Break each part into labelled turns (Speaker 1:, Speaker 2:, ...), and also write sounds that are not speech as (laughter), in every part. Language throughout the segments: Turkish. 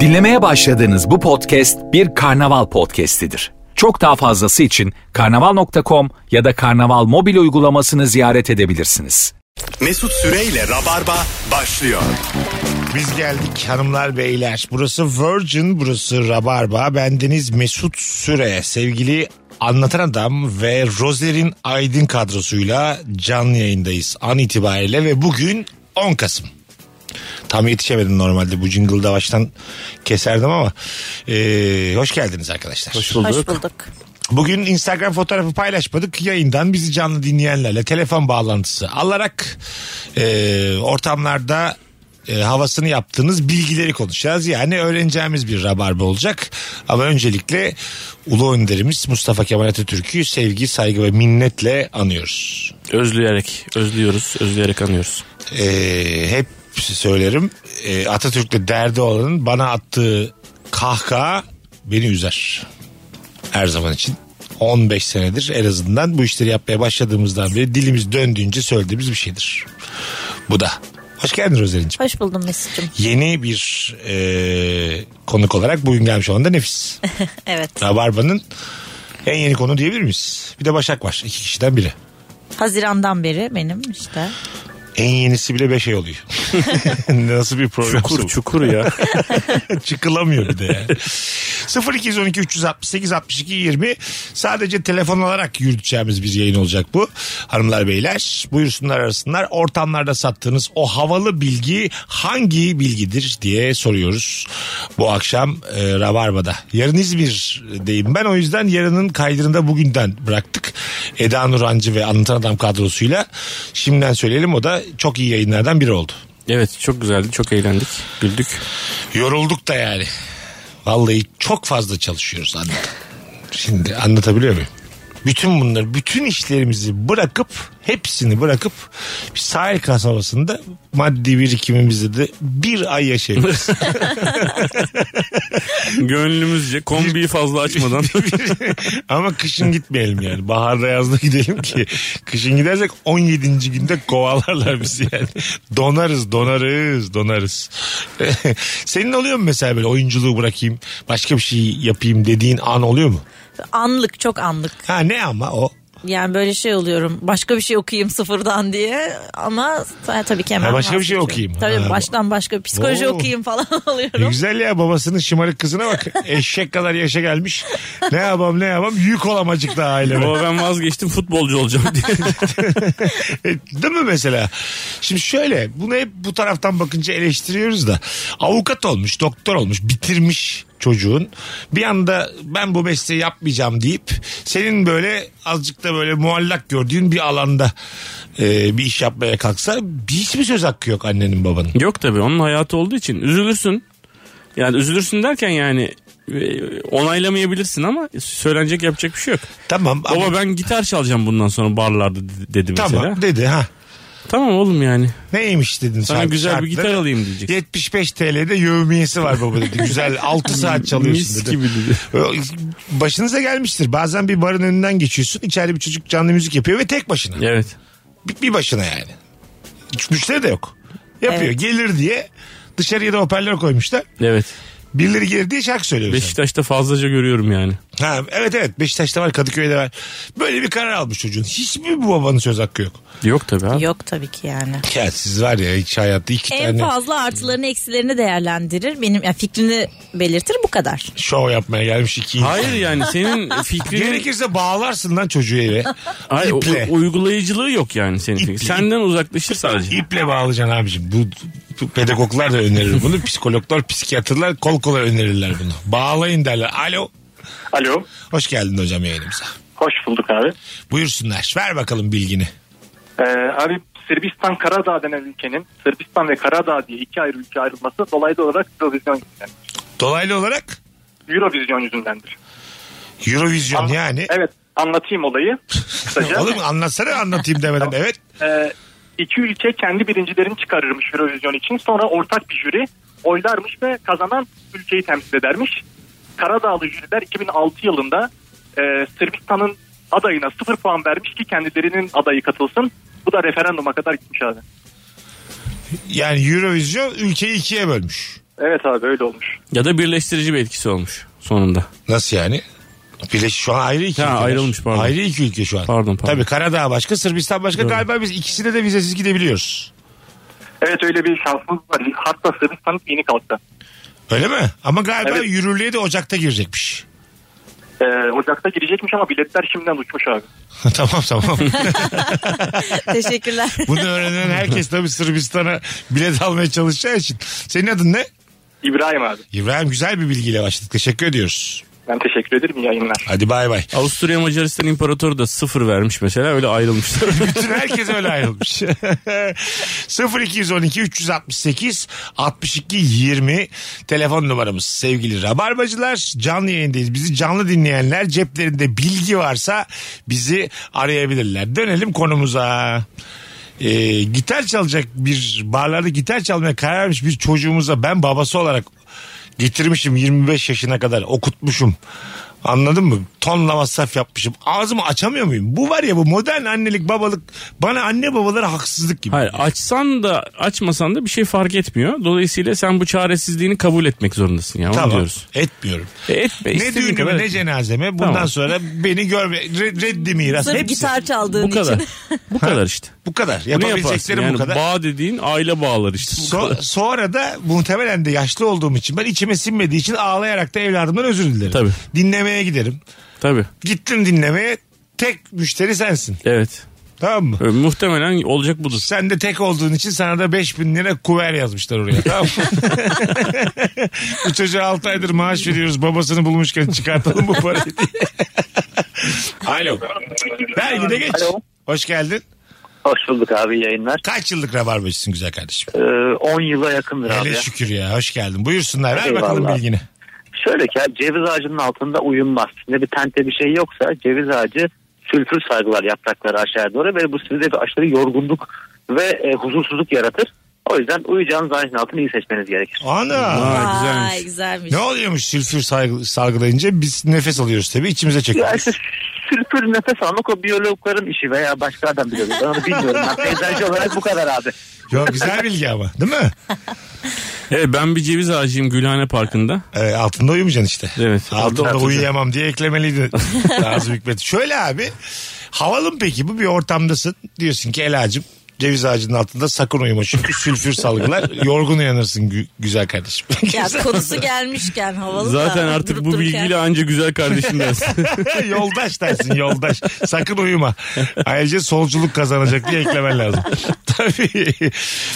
Speaker 1: Dinlemeye başladığınız bu podcast bir karnaval podcastidir. Çok daha fazlası için karnaval.com ya da karnaval mobil uygulamasını ziyaret edebilirsiniz.
Speaker 2: Mesut Süreyle Rabarba başlıyor.
Speaker 3: Biz geldik hanımlar beyler. Burası Virgin, burası Rabarba. Bendeniz Mesut Süre. Sevgili Anlatan Adam ve Rozer'in Aydın kadrosuyla canlı yayındayız an itibariyle ve bugün 10 Kasım. Tam yetişemedim normalde bu jingle'da baştan keserdim ama ee, hoş geldiniz arkadaşlar.
Speaker 4: Hoş bulduk.
Speaker 3: Bugün Instagram fotoğrafı paylaşmadık. Yayından bizi canlı dinleyenlerle telefon bağlantısı alarak e, ortamlarda e, havasını yaptığınız bilgileri konuşacağız. Yani öğreneceğimiz bir rabarba olacak. Ama öncelikle ulu önderimiz Mustafa Kemal Atatürk'ü sevgi, saygı ve minnetle anıyoruz.
Speaker 5: Özleyerek, özlüyoruz, özleyerek anıyoruz.
Speaker 3: E, hep söylerim e, Atatürk'le derdi olanın bana attığı kahkaha beni üzer. her zaman için. 15 senedir en azından bu işleri yapmaya başladığımızdan beri dilimiz döndüğünce söylediğimiz bir şeydir. Bu da. Hoş geldin Rozerin'ciğim.
Speaker 4: Hoş buldum Mesut'cum.
Speaker 3: Yeni bir e, konuk olarak bugün gelmiş olan da Nefis.
Speaker 4: Evet.
Speaker 3: Rabarba'nın en yeni konu diyebilir miyiz? Bir de Başak var. iki kişiden biri.
Speaker 4: Haziran'dan beri benim işte.
Speaker 3: En yenisi bile 5 ay oluyor. (laughs) Nasıl bir program? bu?
Speaker 5: Çukur, çukur ya. (laughs)
Speaker 3: (laughs) Çıkılamıyor bir de yani. 0212 368 62 20 sadece telefon alarak yürüteceğimiz bir yayın olacak bu. Hanımlar beyler buyursunlar arasınlar. Ortamlarda sattığınız o havalı bilgi hangi bilgidir diye soruyoruz. Bu akşam e, Rabarba'da. Yarın İzmir'deyim ben o yüzden yarının kaydırında bugünden bıraktık. Eda Nurancı ve Anlatan Adam kadrosuyla şimdiden söyleyelim o da çok iyi yayınlardan biri oldu.
Speaker 5: evet çok güzeldi, çok eğlendik, güldük.
Speaker 3: Yorulduk da yani. Vallahi çok fazla çalışıyoruz anlat. Şimdi anlatabiliyor muyum? Bütün bunları, bütün işlerimizi bırakıp, hepsini bırakıp bir sahil kasabasında maddi birikimimizde de bir ay yaşayabiliriz.
Speaker 5: Gönlümüzce kombiyi fazla (laughs) açmadan.
Speaker 3: Ama kışın gitmeyelim yani. Baharda yazda gidelim ki. Kışın gidersek 17. günde kovalarlar bizi yani. Donarız, donarız, donarız. (laughs) Senin oluyor mu mesela böyle oyunculuğu bırakayım, başka bir şey yapayım dediğin an oluyor mu?
Speaker 4: Anlık çok anlık.
Speaker 3: Ha ne ama o?
Speaker 4: Yani böyle şey oluyorum. Başka bir şey okuyayım sıfırdan diye ama ta- tabii ki hemen.
Speaker 3: Ha, başka bir şey
Speaker 4: vazgeçiyorum.
Speaker 3: okuyayım.
Speaker 4: Tabii
Speaker 3: Ha.
Speaker 4: baştan başka psikoloji
Speaker 3: Oo.
Speaker 4: okuyayım falan (laughs)
Speaker 3: Ne
Speaker 4: oluyorum.
Speaker 3: güzel ya babasının şımarık kızına bak. Eşek kadar yaşa gelmiş. Ne yapam ne yapam yük olamacık da aileme.
Speaker 5: Baba ben vazgeçtim futbolcu olacağım diye.
Speaker 3: (laughs) Değil mi mesela? Şimdi şöyle bunu hep bu taraftan bakınca eleştiriyoruz da. Avukat olmuş, doktor olmuş, bitirmiş çocuğun. Bir anda ben bu mesleği yapmayacağım deyip senin böyle azıcık da böyle muallak gördüğün bir alanda e, bir iş yapmaya kalksa hiç mi söz hakkı yok annenin babanın?
Speaker 5: (laughs) Yok tabii onun hayatı olduğu için üzülürsün. Yani üzülürsün derken yani e, onaylamayabilirsin ama söylenecek yapacak bir şey yok.
Speaker 3: Tamam. ama-
Speaker 5: Baba ben gitar çalacağım bundan sonra barlarda de- dedi mesela.
Speaker 3: Tamam
Speaker 5: Tamam,
Speaker 3: dedi ha.
Speaker 5: oğlum yani.
Speaker 3: Neymiş dedin
Speaker 5: Sana
Speaker 3: şarkı-
Speaker 5: güzel bir gitar
Speaker 3: şarkıları?
Speaker 5: alayım diyecek.
Speaker 3: 75 TL'de yevmiyesi var baba dedi.
Speaker 5: (laughs)
Speaker 3: Güzel 6 saat çalıyorsun
Speaker 5: Mis
Speaker 3: dedi.
Speaker 5: gibi dedi.
Speaker 3: Başınıza gelmiştir. Bazen bir barın önünden geçiyorsun. İçeride bir çocuk canlı müzik yapıyor ve tek başına.
Speaker 5: Evet.
Speaker 3: Bir, bir başına yani. Hiç müşteri de yok. Yapıyor. Gelir diye dışarıya da hoparlör koymuşlar.
Speaker 5: Evet.
Speaker 3: Birileri gelir diye şarkı söylüyor. mesela.
Speaker 5: Beşiktaş'ta fazlaca görüyorum yani.
Speaker 3: Ha, evet evet Beşiktaş'ta var Kadıköy'de var. Böyle bir karar almış çocuğun. Hiçbir bu babanın söz hakkı yok.
Speaker 5: Yok tabii abi.
Speaker 4: Yok tabii ki yani.
Speaker 3: Ya siz var ya hiç hayatta iki
Speaker 4: En
Speaker 3: tane
Speaker 4: fazla artılarını eksilerini değerlendirir. Benim yani fikrini belirtir bu
Speaker 3: (laughs)
Speaker 4: kadar.
Speaker 3: şov yapmaya gelmiş iki insan.
Speaker 5: Hayır yani senin fikrini
Speaker 3: Gerekirse bağlarsın lan çocuğu
Speaker 5: (laughs)
Speaker 3: eve.
Speaker 5: Hayır, u-
Speaker 3: İple.
Speaker 5: uygulayıcılığı yok yani senin fikrin.
Speaker 3: İple.
Speaker 5: Senden uzaklaşır sadece.
Speaker 3: İple bağlayacaksın abicim. Bu, bu pedagoglar da önerir bunu. Psikologlar, psikiyatrlar kol kola önerirler bunu. Bağlayın derler. Alo.
Speaker 6: Alo.
Speaker 3: Hoş geldin hocam yayınımıza.
Speaker 6: Hoş bulduk abi.
Speaker 3: Buyursunlar. Ver bakalım bilgini.
Speaker 6: Ee, abi Sırbistan Karadağ denen ülkenin Sırbistan ve Karadağ diye iki ayrı ülke ayrılması dolaylı olarak Eurovizyon yüzünden.
Speaker 3: Dolaylı olarak
Speaker 6: Eurovizyon yüzündendir.
Speaker 3: Eurovision
Speaker 6: Ama-
Speaker 3: yani.
Speaker 6: Evet anlatayım olayı.
Speaker 3: (laughs)
Speaker 6: Kısaca.
Speaker 3: Oğlum anlatsana anlatayım demedim. Evet.
Speaker 6: Ee, iki ülke kendi birincilerini çıkarırmış Eurovizyon için. Sonra ortak bir jüri oylarmış ve kazanan ülkeyi temsil edermiş. Karadağlı jüriler 2006 yılında e, Sırbistan'ın adayına 0 puan vermiş ki kendilerinin adayı katılsın. Bu da referanduma kadar gitmiş abi.
Speaker 3: Yani Eurovision ülkeyi ikiye bölmüş.
Speaker 6: Evet abi öyle olmuş.
Speaker 5: Ya da birleştirici bir etkisi olmuş sonunda.
Speaker 3: Nasıl yani? Birleş şu an ayrı iki
Speaker 5: Ha,
Speaker 3: ülke.
Speaker 5: ayrılmış, pardon.
Speaker 3: Ayrı iki ülke şu an.
Speaker 5: Pardon, pardon.
Speaker 3: Tabii Karadağ başka, Sırbistan başka. Galiba biz ikisine de vizesiz gidebiliyoruz.
Speaker 6: Evet öyle bir şansımız var. Hatta Sırbistan'ın yeni kalktı.
Speaker 3: Öyle mi? Ama galiba
Speaker 6: Evet.
Speaker 3: yürürlüğe de Ocak'ta girecekmiş. (laughs)
Speaker 6: Ee, Ocak'ta girecekmiş ama biletler şimdiden uçmuş abi.
Speaker 3: tamam (laughs) tamam.
Speaker 4: Teşekkürler.
Speaker 3: Bunu öğrenen herkes tabii Sırbistan'a bilet almaya çalışacağı için. Senin adın ne?
Speaker 6: İbrahim abi.
Speaker 3: İbrahim güzel bir bilgiyle başladık. Teşekkür ediyoruz.
Speaker 6: Ben teşekkür ederim iyi yayınlar.
Speaker 3: Hadi bay bay.
Speaker 5: Avusturya Macaristan İmparatoru da sıfır vermiş mesela
Speaker 3: (laughs)
Speaker 5: öyle ayrılmışlar.
Speaker 3: Bütün herkes öyle ayrılmış. (laughs) 0212 368 62 20 telefon numaramız sevgili Rabarbacılar. Canlı yayındayız. Bizi canlı dinleyenler ceplerinde bilgi varsa bizi arayabilirler. Dönelim konumuza. Ee, gitar çalacak bir barlarda gitar çalmaya karar vermiş bir çocuğumuza ben babası olarak getirmişim 25 yaşına kadar okutmuşum. Anladın mı? Tonla masraf yapmışım. Ağzımı açamıyor muyum? Bu var ya bu modern annelik babalık bana anne babalara haksızlık gibi.
Speaker 5: Hayır açsan da açmasan da bir şey fark etmiyor. Dolayısıyla sen bu çaresizliğini kabul etmek zorundasın ya onu
Speaker 3: Tamam.
Speaker 5: diyoruz.
Speaker 3: Etmiyorum.
Speaker 5: E, etme,
Speaker 3: Ne
Speaker 5: istediğin
Speaker 3: düğünüme
Speaker 5: kadar
Speaker 3: ne
Speaker 5: etme.
Speaker 3: cenazeme bundan
Speaker 5: Tamam.
Speaker 3: sonra beni görme re- reddi miras
Speaker 4: Sırf
Speaker 3: hepsi.
Speaker 4: gitar
Speaker 5: Bu
Speaker 4: çaldığın
Speaker 5: kadar.
Speaker 4: için.
Speaker 5: bu kadar işte.
Speaker 3: Bu kadar.
Speaker 5: Bunu yaparsın.
Speaker 3: Yapabileceklerim
Speaker 5: Yani
Speaker 3: bu kadar.
Speaker 5: bağ dediğin aile bağları işte. Bu
Speaker 3: So-
Speaker 5: kadar.
Speaker 3: sonra da muhtemelen de yaşlı olduğum için ben içime sinmediği için ağlayarak da evladımdan özür dilerim.
Speaker 5: Tabii.
Speaker 3: Dinlemeye giderim.
Speaker 5: Tabii.
Speaker 3: Gittim dinlemeye tek müşteri sensin.
Speaker 5: Evet.
Speaker 3: Tamam mı?
Speaker 5: E, muhtemelen olacak budur.
Speaker 3: Sen de tek olduğun için sana da 5000 lira kuver yazmışlar oraya. Tamam mı? (laughs) bu çocuğa 6 aydır maaş veriyoruz. Babasını bulmuşken çıkartalım bu parayı
Speaker 7: (laughs)
Speaker 3: diye. Alo. Belki de geç.
Speaker 7: Alo.
Speaker 3: Hoş geldin.
Speaker 7: Hoş bulduk abi iyi yayınlar.
Speaker 3: Kaç yıllık rabarbacısın güzel kardeşim?
Speaker 7: Ee, 10 yıla yakındır abi.
Speaker 3: Hele şükür ya. Hoş geldin. Buyursunlar. Ver bakalım
Speaker 7: Eyvallah.
Speaker 3: bilgini.
Speaker 7: Şöyle ki abi, ceviz ağacının altında uyunmaz. Ne bir tente bir şey yoksa ceviz ağacı sülfür sargılar yaprakları aşağıya doğru ve bu sizde bir aşırı yorgunluk ve e, huzursuzluk yaratır. O yüzden uyuyacağınız ağacın altını iyi seçmeniz gerekir.
Speaker 3: Ana.
Speaker 5: Aa, güzelmiş.
Speaker 4: Vay güzelmiş.
Speaker 3: Ne oluyormuş sülfür saygı- salgılayınca biz nefes alıyoruz tabii içimize
Speaker 7: Ya
Speaker 3: çekiyoruz.
Speaker 7: işte sülfür nefes almak o biyologların işi veya başka adam biliyor. Ben onu bilmiyorum. Ben peyzajcı olarak bu kadar abi.
Speaker 3: Yo, güzel bilgi ama değil mi?
Speaker 5: Evet ben bir ceviz ağacıyım Gülhane Parkı'nda.
Speaker 3: Ee, altında uyumayacaksın işte.
Speaker 5: Evet.
Speaker 3: Altında
Speaker 5: Altında.
Speaker 3: uyuyamam diye eklemeliydin. Nazım Hikmet. Şöyle abi. Havalı mı peki bu bir ortamdasın. Diyorsun ki el ağacım ceviz ağacının altında sakın uyuma. Çünkü sülfür salgılar. Yorgun uyanırsın gü- güzel kardeşim. (laughs)
Speaker 4: Ya konusu gelmişken havalı da,
Speaker 5: Zaten artık
Speaker 4: durup
Speaker 5: bu
Speaker 4: dururken. (laughs)
Speaker 5: bilgiyle anca güzel kardeşim dersin.
Speaker 3: yoldaş dersin yoldaş. Sakın uyuma. Ayrıca solculuk kazanacak diye eklemen lazım. Tabii.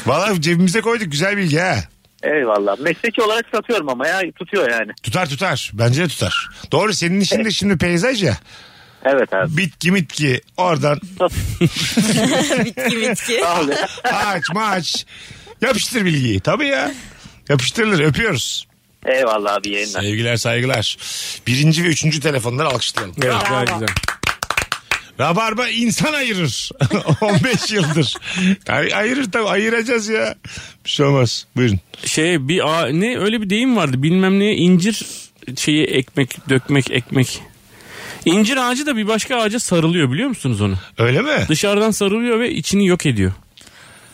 Speaker 3: Valla cebimize koyduk güzel bilgi ha.
Speaker 7: Eyvallah. Mesleki olarak satıyorum ama ya tutuyor yani.
Speaker 3: Tutar tutar. Bence de tutar. Doğru senin işin de şimdi peyzaj ya.
Speaker 7: Evet abi.
Speaker 3: Bitki mitki oradan
Speaker 4: bitki bitki.
Speaker 7: Abi.
Speaker 3: Aç maç. Yapıştır bilgiyi. Tabii ya. Yapıştırılır. Öpüyoruz.
Speaker 7: Eyvallah abi yayınlar.
Speaker 3: Sevgiler saygılar. Birinci ve üçüncü telefonları alkışlayalım.
Speaker 5: evet,
Speaker 4: Bravo.
Speaker 5: gayet güzel.
Speaker 3: Rabarba insan ayırır. (laughs) 15 yıldır. Ay- ayırır tabii ayıracağız ya. Bir şey olmaz. Buyurun.
Speaker 5: Şey bir a- ne öyle bir deyim vardı bilmem neye incir şeyi ekmek dökmek ekmek. İncir ağacı da bir başka ağaca sarılıyor biliyor musunuz onu?
Speaker 3: Öyle mi?
Speaker 5: Dışarıdan sarılıyor ve içini yok ediyor.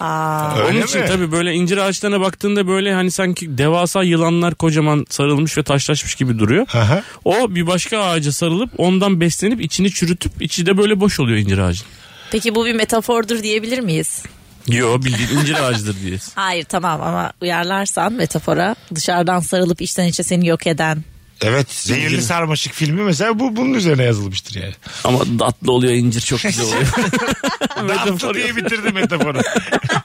Speaker 4: Aa,
Speaker 3: Öyle
Speaker 5: Onun için
Speaker 3: mi?
Speaker 5: tabii böyle incir ağaçlarına baktığında böyle hani sanki devasa yılanlar kocaman sarılmış ve taşlaşmış gibi duruyor.
Speaker 3: Aha.
Speaker 5: O bir başka ağaca sarılıp ondan beslenip içini çürütüp içi de böyle boş oluyor incir ağacının.
Speaker 4: peki bu bir metafordur diyebilir miyiz?
Speaker 5: Yo bildiğin incir ağacıdır diye.
Speaker 4: Hayır tamam ama uyarlarsan metafora dışarıdan sarılıp içten içe seni yok eden.
Speaker 3: Evet. Zehirli Sarmaşık filmi mesela bu bunun üzerine yazılmıştır yani.
Speaker 5: Ama tatlı oluyor incir çok güzel
Speaker 3: (laughs)
Speaker 5: oluyor.
Speaker 3: Daptı
Speaker 5: Metafor
Speaker 3: diye bitirdi metaforu.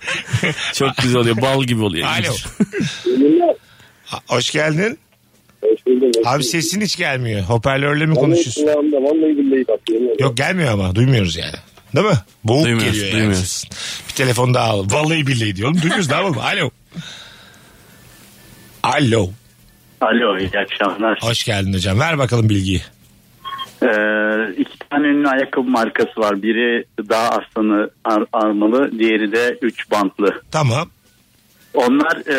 Speaker 5: (laughs) çok güzel oluyor bal gibi oluyor
Speaker 3: Alo.
Speaker 5: incir.
Speaker 3: Ha- Hoş geldin.
Speaker 8: Hoş buldum. Hoş
Speaker 3: Abi
Speaker 8: buldum.
Speaker 3: sesin hiç gelmiyor. Hoparlörle mi
Speaker 8: Vallahi
Speaker 3: konuşuyorsun?
Speaker 8: kulağımda vallahi billahi patlıyorum.
Speaker 3: Yok gelmiyor ama duymuyoruz yani. Değil mi? Boğuk
Speaker 5: Duymuyoruz,
Speaker 3: geliyor yani.
Speaker 5: duymuyoruz.
Speaker 3: sesin. Bir telefon daha al. Vallahi billahi diyorum. Duymuyoruz ne yapalım? Alo. Alo.
Speaker 7: Alo iyi akşamlar.
Speaker 3: Hoş geldin hocam. Ver bakalım bilgiyi.
Speaker 7: Ee, iki tane ünlü ayakkabı markası var. Biri daha aslanı ar- armalı, diğeri de üç bantlı.
Speaker 3: Tamam.
Speaker 7: Onlar e,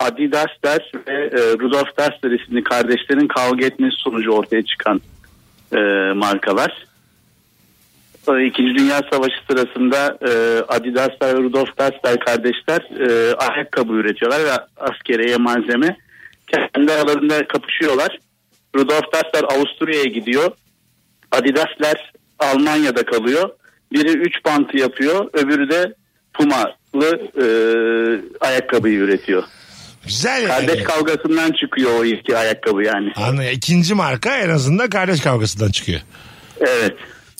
Speaker 7: Adidas der ve e, Rudolf Dassler isimli kardeşlerin kavga etmesi sonucu ortaya çıkan e, markalar. e, İkinci Dünya Savaşı sırasında e, Adidaslar ve Rudolf Dassler kardeşler e, ayakkabı üretiyorlar ve askereye malzeme. Kendi aralarında kapışıyorlar. Rudolf Dassler Avusturya'ya gidiyor. Adidasler Almanya'da kalıyor. Biri 3 bantı yapıyor, öbürü de Puma'lı e, ayakkabıyı üretiyor.
Speaker 3: Güzel yani.
Speaker 7: Kardeş kavgasından çıkıyor o iki ayakkabı yani.
Speaker 3: Anladım. İkinci marka en azından kardeş kavgasından çıkıyor.
Speaker 7: Evet.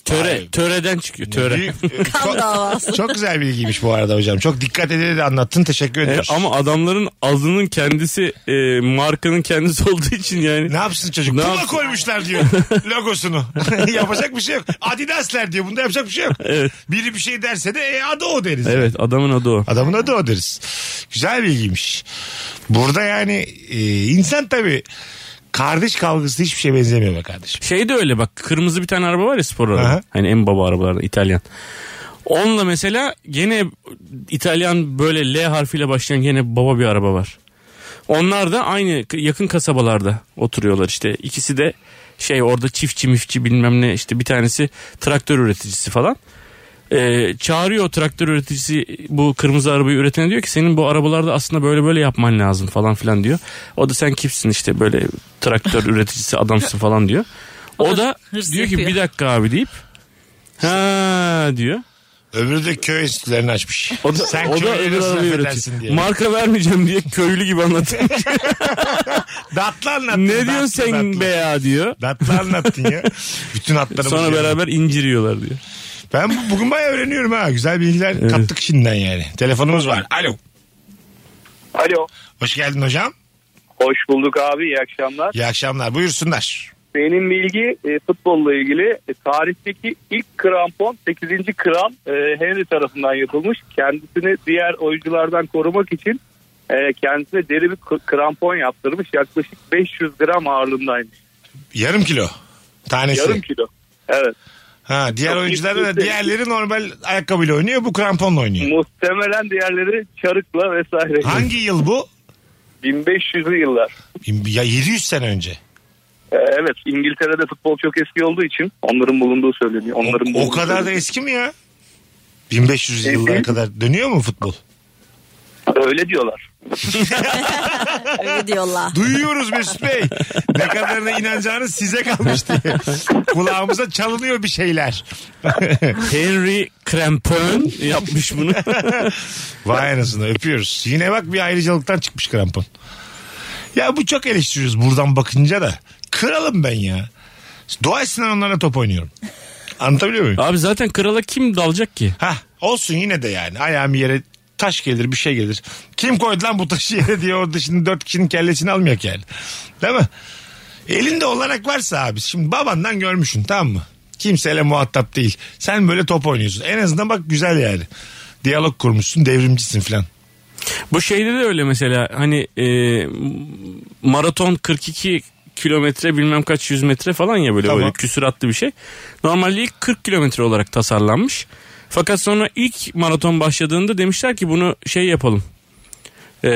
Speaker 5: Töre, töreden çıkıyor töre.
Speaker 3: Büyük-
Speaker 4: Kan davası.
Speaker 3: e, çok, çok güzel bilgiymiş bu arada hocam. Çok dikkat ederek de anlattın. Teşekkür
Speaker 5: E,
Speaker 3: ediyoruz.
Speaker 5: ama adamların adının kendisi e, markanın kendisi (laughs) olduğu için yani.
Speaker 3: E, Ne yapsın çocuk?
Speaker 5: Ne
Speaker 3: Puma
Speaker 5: yapsın?
Speaker 3: koymuşlar
Speaker 5: (laughs)
Speaker 3: diyor logosunu. (laughs) yapacak bir şey yok. Adidasler diyor. Bunda yapacak bir şey yok. Biri bir şey derse de e, adı o deriz.
Speaker 5: Evet adamın adı o.
Speaker 3: Adamın adı o deriz. Güzel bilgiymiş. Burada yani e, insan tabii kardeş kavgası hiçbir şeye benzemiyor be kardeşim.
Speaker 5: Şey de öyle bak kırmızı bir tane araba var ya spor araba.
Speaker 3: Aha.
Speaker 5: Hani en baba arabalardan İtalyan. Onunla mesela gene İtalyan böyle L harfiyle başlayan gene baba bir araba var. Onlar da aynı k- yakın kasabalarda oturuyorlar işte. İkisi de şey orada çiftçi mifçi bilmem ne işte bir tanesi traktör üreticisi falan. Ee, çağırıyor o traktör üreticisi bu kırmızı arabayı üretene diyor ki senin bu arabalarda aslında böyle böyle yapman lazım falan filan diyor. O da sen kimsin işte böyle
Speaker 4: (laughs)
Speaker 5: traktör üreticisi adamsın falan diyor. O
Speaker 4: da
Speaker 5: da
Speaker 4: hırs
Speaker 5: diyor ki
Speaker 4: yapıyor.
Speaker 5: bir dakika abi deyip ha diyor.
Speaker 3: Öbürü de köy enstitülerini açmış.
Speaker 5: O da,
Speaker 3: Sen
Speaker 5: o da
Speaker 3: köylüleri
Speaker 5: öbür
Speaker 3: nasıl
Speaker 5: arabayı
Speaker 3: affedersin
Speaker 5: üretiyor.
Speaker 3: diye.
Speaker 5: Marka vermeyeceğim diye köylü
Speaker 3: (laughs)
Speaker 5: gibi anlatıyor.
Speaker 3: datlı anlattın.
Speaker 5: ne
Speaker 3: datlı,
Speaker 5: diyorsun sen
Speaker 3: datlı.
Speaker 5: be ya diyor.
Speaker 3: Datlı anlattın
Speaker 5: (laughs)
Speaker 3: ya. Bütün hatlarımız.
Speaker 5: Sonra
Speaker 3: yani.
Speaker 5: beraber inciriyorlar diyor.
Speaker 3: Ben bu- bugün bayağı öğreniyorum ha. Güzel bilgiler kattık şimdiden yani. Telefonumuz var. Alo.
Speaker 8: Alo.
Speaker 3: Hoş geldin hocam.
Speaker 8: Hoş bulduk abi. İyi akşamlar.
Speaker 3: İyi akşamlar. Buyursunlar.
Speaker 8: Benim bilgi e, futbolla ilgili. E, tarihteki ilk krampon 8. kral e, Henry tarafından yapılmış. Kendisini diğer oyunculardan korumak için e, kendisine deri bir k- krampon yaptırmış. Yaklaşık 500 gram ağırlığındaymış.
Speaker 3: Yarım kilo. Tanesi.
Speaker 8: Yarım kilo. Evet.
Speaker 3: Ha, diğer
Speaker 8: Yok,
Speaker 3: oyunculara da
Speaker 8: yüz- yüz-
Speaker 3: diğerleri normal ayakkabıyla oynuyor. Bu kramponla oynuyor.
Speaker 8: Muhtemelen diğerleri çarıkla vesaire.
Speaker 3: Hangi yıl bu?
Speaker 8: 1500'lü yıllar.
Speaker 3: Ya 700 sene önce.
Speaker 8: Ee, Evet İngiltere'de futbol çok eski olduğu için onların bulunduğu söyleniyor. Onların
Speaker 3: O, o
Speaker 8: bulunduğu
Speaker 3: kadar da
Speaker 8: söyleniyor.
Speaker 3: eski mi ya? 1500 yıllara
Speaker 8: Eski.
Speaker 3: kadar dönüyor mu futbol?
Speaker 8: Öyle diyorlar.
Speaker 4: Öyle diyorlar.
Speaker 3: Duyuyoruz Mesut Bey. Ne kadarına inanacağınız size kalmış
Speaker 8: (laughs)
Speaker 3: diye. Kulağımıza çalınıyor bir şeyler.
Speaker 5: Henry Crampon (laughs)
Speaker 3: (laughs)
Speaker 5: yapmış bunu.
Speaker 3: Vay anasını öpüyoruz. Yine bak bir ayrıcalıktan çıkmış krampon. Ya bu çok eleştiriyoruz buradan bakınca da. Kralım ben ya. Doğaysınlar onlara top oynuyorum. Anlatabiliyor muyum?
Speaker 5: Abi zaten krala kim dalacak ki?
Speaker 3: Hah olsun yine de yani. Ayağım yere taş gelir bir şey gelir. Kim koydu lan bu taşı yere diye orada şimdi dört kişinin kellesini almayak yani. Değil mi? Elinde olarak varsa abi şimdi babandan görmüşsün tamam mı? Kimseyle muhatap değil. Sen böyle top oynuyorsun. En azından bak güzel yani. Diyalog kurmuşsun devrimcisin filan.
Speaker 5: Bu şeyde de öyle mesela hani e, maraton 42 kilometre bilmem kaç yüz metre falan ya böyle,
Speaker 3: Tamam.
Speaker 5: böyle küsuratlı bir şey. Normalde ilk 40 kilometre olarak tasarlanmış. Fakat sonra ilk maraton başladığında demişler ki bunu şey yapalım. E,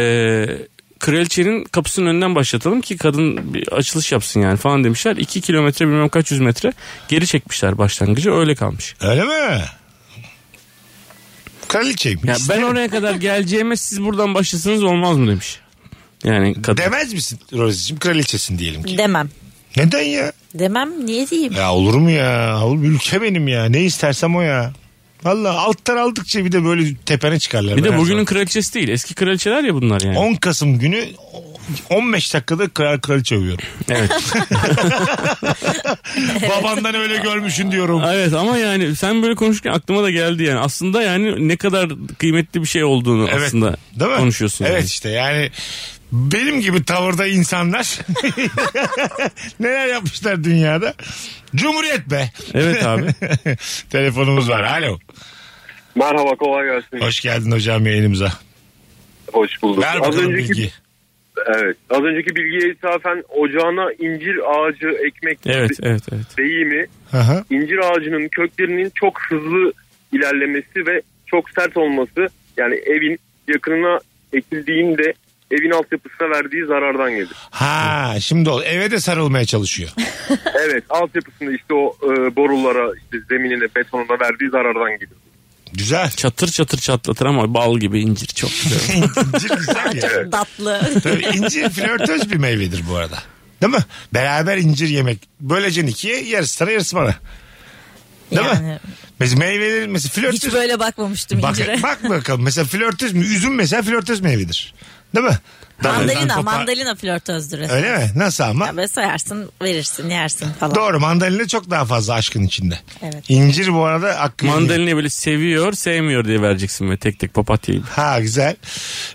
Speaker 5: kraliçenin kapısının önünden başlatalım ki kadın bir açılış yapsın yani falan demişler. 2 kilometre bilmem kaç yüz metre geri çekmişler başlangıcı öyle kalmış.
Speaker 3: Öyle mi? Kraliçeyim.
Speaker 5: Ya ben oraya kadar geleceğime siz buradan başlasanız olmaz mı demiş. Yani kadın.
Speaker 3: Demez misin Rozi'cim kraliçesin diyelim ki.
Speaker 4: (laughs) Demem.
Speaker 3: Neden ya?
Speaker 4: Demem niye diyeyim?
Speaker 3: Ya olur mu ya? Oğlum ülke benim ya. Ne istersem o ya. Valla alttan aldıkça bir de böyle tepene çıkarlar.
Speaker 5: Bir
Speaker 3: Ben
Speaker 5: de
Speaker 3: her
Speaker 5: bugünün kraliçesi değil. Eski kraliçeler ya bunlar yani.
Speaker 3: zaman. 10 Kasım günü 15 dakikada kral kraliçe övüyorum.
Speaker 5: Evet.
Speaker 3: (laughs) Babandan öyle görmüşün diyorum.
Speaker 5: evet ama yani sen böyle konuşurken aklıma da geldi yani. Aslında yani ne kadar kıymetli bir şey olduğunu
Speaker 3: Evet.
Speaker 5: aslında
Speaker 3: Değil mi?
Speaker 5: konuşuyorsun.
Speaker 3: Evet işte yani benim gibi tavırda insanlar (laughs) neler yapmışlar dünyada. Cumhuriyet be.
Speaker 5: Yani. Evet abi.
Speaker 3: (laughs) Telefonumuz var. Alo.
Speaker 8: Merhaba kolay gelsin.
Speaker 3: Hoş geldin hocam yayınımıza.
Speaker 8: Hoş bulduk.
Speaker 3: Ver bakalım bilgi.
Speaker 8: evet, az önceki bilgiye ithafen ocağına incir ağacı ekmek
Speaker 5: Evet evet evet.
Speaker 8: deyimi
Speaker 3: Aha.
Speaker 8: incir ağacının köklerinin çok hızlı ilerlemesi ve çok sert olması yani evin yakınına ekildiğinde evin altyapısına verdiği zarardan
Speaker 9: (laughs)
Speaker 8: gelir.
Speaker 3: Ha şimdi ol. Eve de sarılmaya çalışıyor.
Speaker 8: Evet altyapısında işte o e, borulara işte zeminine betonuna verdiği zarardan gelir.
Speaker 3: Güzel. (laughs)
Speaker 5: Çatır çatır çatlatır ama bal gibi incir çok güzel.
Speaker 3: incir güzel ya.
Speaker 4: Çok tatlı. (laughs)
Speaker 3: Tabii incir flörtöz bir meyvedir bu arada. Değil mi? Beraber incir yemek. Böleceksin ikiye yarısı sana yarısı bana. Değil mi?
Speaker 4: Yani
Speaker 3: Mesela meyveleri mesela flörtöz.
Speaker 4: hiç böyle bakmamıştım
Speaker 3: Bak,
Speaker 4: incire.
Speaker 3: bak bakalım mesela flörtöz mü? Üzüm mesela flörtöz meyvedir. Değil mi?
Speaker 4: mandalina,
Speaker 3: Kopar-
Speaker 4: mandalina flörtözdür. esas.
Speaker 3: Öyle mi? Nasıl ama?
Speaker 4: Ya böyle soyarsın, verirsin, yersin falan.
Speaker 3: Doğru mandalina çok daha fazla aşkın içinde.
Speaker 4: Evet.
Speaker 3: İncir bu arada hakkı yemiyor.
Speaker 5: Mandalina böyle seviyor sevmiyor diye vereceksin ve tek tek papatya gibi.
Speaker 3: Ha güzel.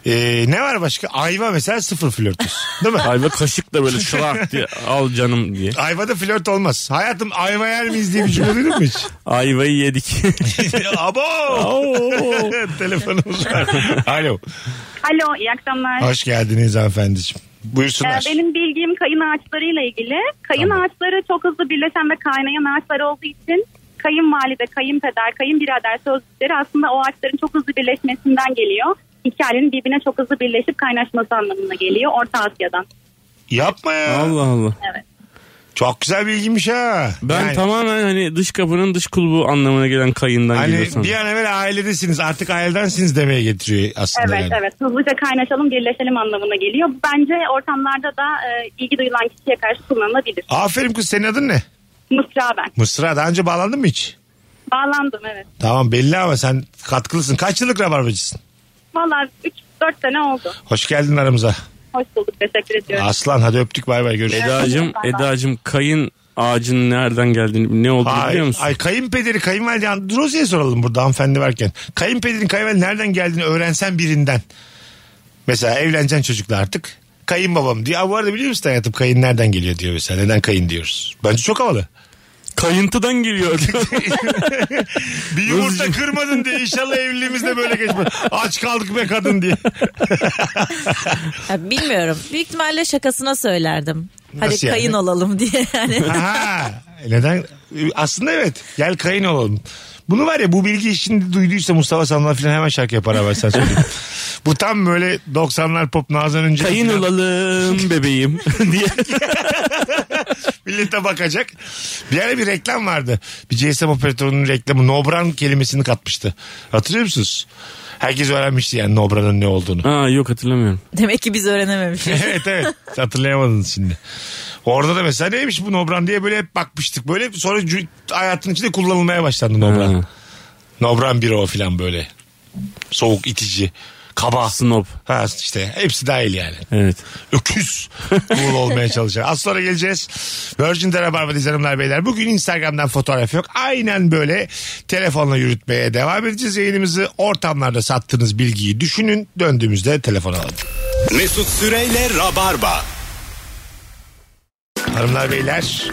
Speaker 3: Ee, ne var başka? Ayva mesela sıfır flörtöz. Değil mi?
Speaker 5: Ayva kaşıkla böyle şırak diye al canım diye.
Speaker 3: Ayvada flört olmaz. Hayatım ayva yer miyiz diye bir cümle duydun mu hiç?
Speaker 5: Ayvayı
Speaker 3: (laughs)
Speaker 5: yedik.
Speaker 3: Abo!
Speaker 5: Oo.
Speaker 3: (laughs) Telefonumuz var. Alo.
Speaker 9: Alo iyi akşamlar.
Speaker 3: Hoş geldiniz hanımefendiciğim. Buyursunlar.
Speaker 9: Ee, benim bilgim kayın ağaçlarıyla ilgili. Kayın
Speaker 3: Tamam.
Speaker 9: ağaçları çok hızlı birleşen ve kaynayan ağaçlar olduğu için kayınvalide, kayınpeder, kayınbirader sözcükleri aslında o ağaçların çok hızlı birleşmesinden geliyor. İki ailenin birbirine çok hızlı birleşip kaynaşması anlamına geliyor Orta Asya'dan.
Speaker 3: Yapma ya.
Speaker 5: Allah Allah.
Speaker 3: Çok güzel bilgiymiş ha.
Speaker 5: Ben
Speaker 3: Yani-
Speaker 5: tamamen hani dış kapının dış kulbu anlamına gelen kayından
Speaker 3: Hani
Speaker 5: geliyor sandım.
Speaker 3: bir an evvel ailedesiniz artık ailedensiniz demeye getiriyor aslında
Speaker 9: Evet
Speaker 3: yani.
Speaker 9: evet hızlıca kaynaşalım birleşelim anlamına geliyor. Bence ortamlarda da e, ilgi duyulan kişiye karşı kullanılabilir.
Speaker 3: Aferin kız senin adın ne?
Speaker 9: Mısra ben.
Speaker 3: Mısra daha önce bağlandın mı hiç?
Speaker 9: Bağlandım evet.
Speaker 3: Tamam belli ama sen katkılısın. Kaç yıllık rabarbacısın?
Speaker 9: Valla 3-4 sene oldu.
Speaker 3: Hoş geldin aramıza.
Speaker 9: Hoş bulduk teşekkür ediyorum.
Speaker 3: Aslan hadi öptük bay bay görüşürüz.
Speaker 5: Eda'cığım, Eda'cığım kayın ağacının nereden geldiğini ne olduğunu
Speaker 3: Ay,
Speaker 5: biliyor musun?
Speaker 3: ay kayınpederi kayınvalide an- Rozi'ye soralım burada hanımefendi varken. Kayınpederin kayınvalide nereden geldiğini öğrensen birinden. Mesela evleneceksin çocukla artık. Kayınbabam diyor. Aa, bu arada biliyor musun hayatım kayın nereden geliyor diyor mesela. Neden kayın diyoruz. Bence çok havalı. (laughs)
Speaker 5: Kayıntıdan geliyor.
Speaker 3: Bir yumurta kırmadın diye inşallah evliliğimizde böyle geçmez. Aç kaldık be kadın diye.
Speaker 4: Ya bilmiyorum. Büyük ihtimalle şakasına söylerdim. Hadi
Speaker 3: Nasıl yani?
Speaker 4: kayın olalım (laughs) diye. Yani
Speaker 3: Aha, neden? Aslında evet. Gel kayın olalım. Bunu var ya bu bilgi şimdi duyduysa Mustafa Sandal falan hemen şarkı yapar abi sen
Speaker 5: (laughs)
Speaker 3: söyleyeyim. bu tam böyle 90'lar pop nazan önce.
Speaker 5: kayın
Speaker 3: (laughs)
Speaker 5: olalım bebeğim diye.
Speaker 3: Millete bakacak. Bir ara bir reklam vardı. Bir GSM operatörünün reklamı Nobran kelimesini katmıştı. Hatırlıyor musunuz? Herkes öğrenmişti yani Nobran'ın ne
Speaker 5: (laughs)
Speaker 3: olduğunu.
Speaker 5: Ha yok hatırlamıyorum.
Speaker 4: demek ki
Speaker 3: (laughs)
Speaker 4: biz öğrenememişiz.
Speaker 3: evet evet hatırlayamadınız şimdi. Orada da mesela neymiş bu Nobran diye böyle hep bakmıştık. Böyle sonra cü- hayatın içinde kullanılmaya başlandı Nobran.
Speaker 5: Ha,
Speaker 3: Nobran bir o filan böyle. Soğuk itici. Kaba.
Speaker 5: snob.
Speaker 3: Ha işte hepsi dahil yani.
Speaker 5: Evet.
Speaker 3: Öküz. Cool olmaya çalışan. Az sonra geleceğiz. Virgin'de Rabarba'dayız hanımlar beyler. Bugün Instagram'dan fotoğraf yok. Aynen böyle telefonla yürütmeye devam edeceğiz yayınımızı. Ortamlarda sattığınız bilgiyi düşünün. Döndüğümüzde telefon alalım.
Speaker 10: Mesut Süreyle Rabarba.
Speaker 3: Hanımlar beyler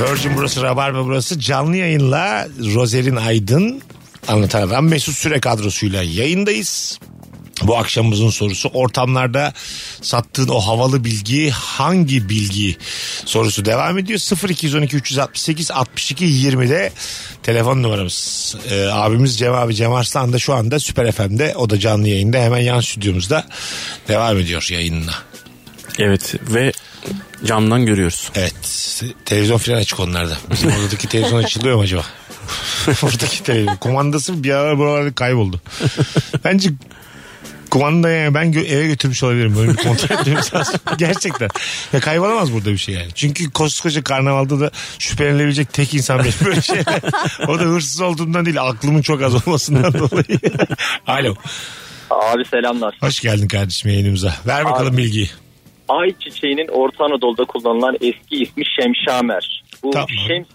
Speaker 3: Virgin burası Rabarba burası canlı yayınla Rozerin Aydın anlatan adam Mesut Süre kadrosuyla yayındayız. Bu akşamımızın sorusu ortamlarda sattığın o havalı bilgi hangi bilgi sorusu devam ediyor. 0212 368 62 20'de telefon numaramız. Ee, abimiz Cem abi Cem Arslan da şu anda Süper FM'de o da canlı yayında hemen yan stüdyomuzda devam ediyor yayınına.
Speaker 5: Evet ve camdan görüyoruz.
Speaker 3: Evet. Televizyon falan açık onlarda. Bizim oradaki televizyon açılıyor mu acaba? Buradaki televizyon. Kumandası bir ara buralarda kayboldu. Bence kumandayı yani ben gö- eve götürmüş olabilirim. Böyle bir kontrol etmemiz lazım. Gerçekten. Ya kaybolamaz burada bir şey yani. Çünkü koskoca karnavalda da şüphelenilebilecek tek insan benim böyle şeyler. O da hırsız olduğundan değil aklımın çok az olmasından dolayı. Alo.
Speaker 11: Abi selamlar.
Speaker 3: Hoş geldin kardeşim yayınımıza. Ver bakalım
Speaker 11: Abi.
Speaker 3: bilgiyi.
Speaker 11: Ay çiçeğinin Orta Anadolu'da kullanılan eski ismi Şemşamer. Bu
Speaker 3: Tamam.
Speaker 11: Şems,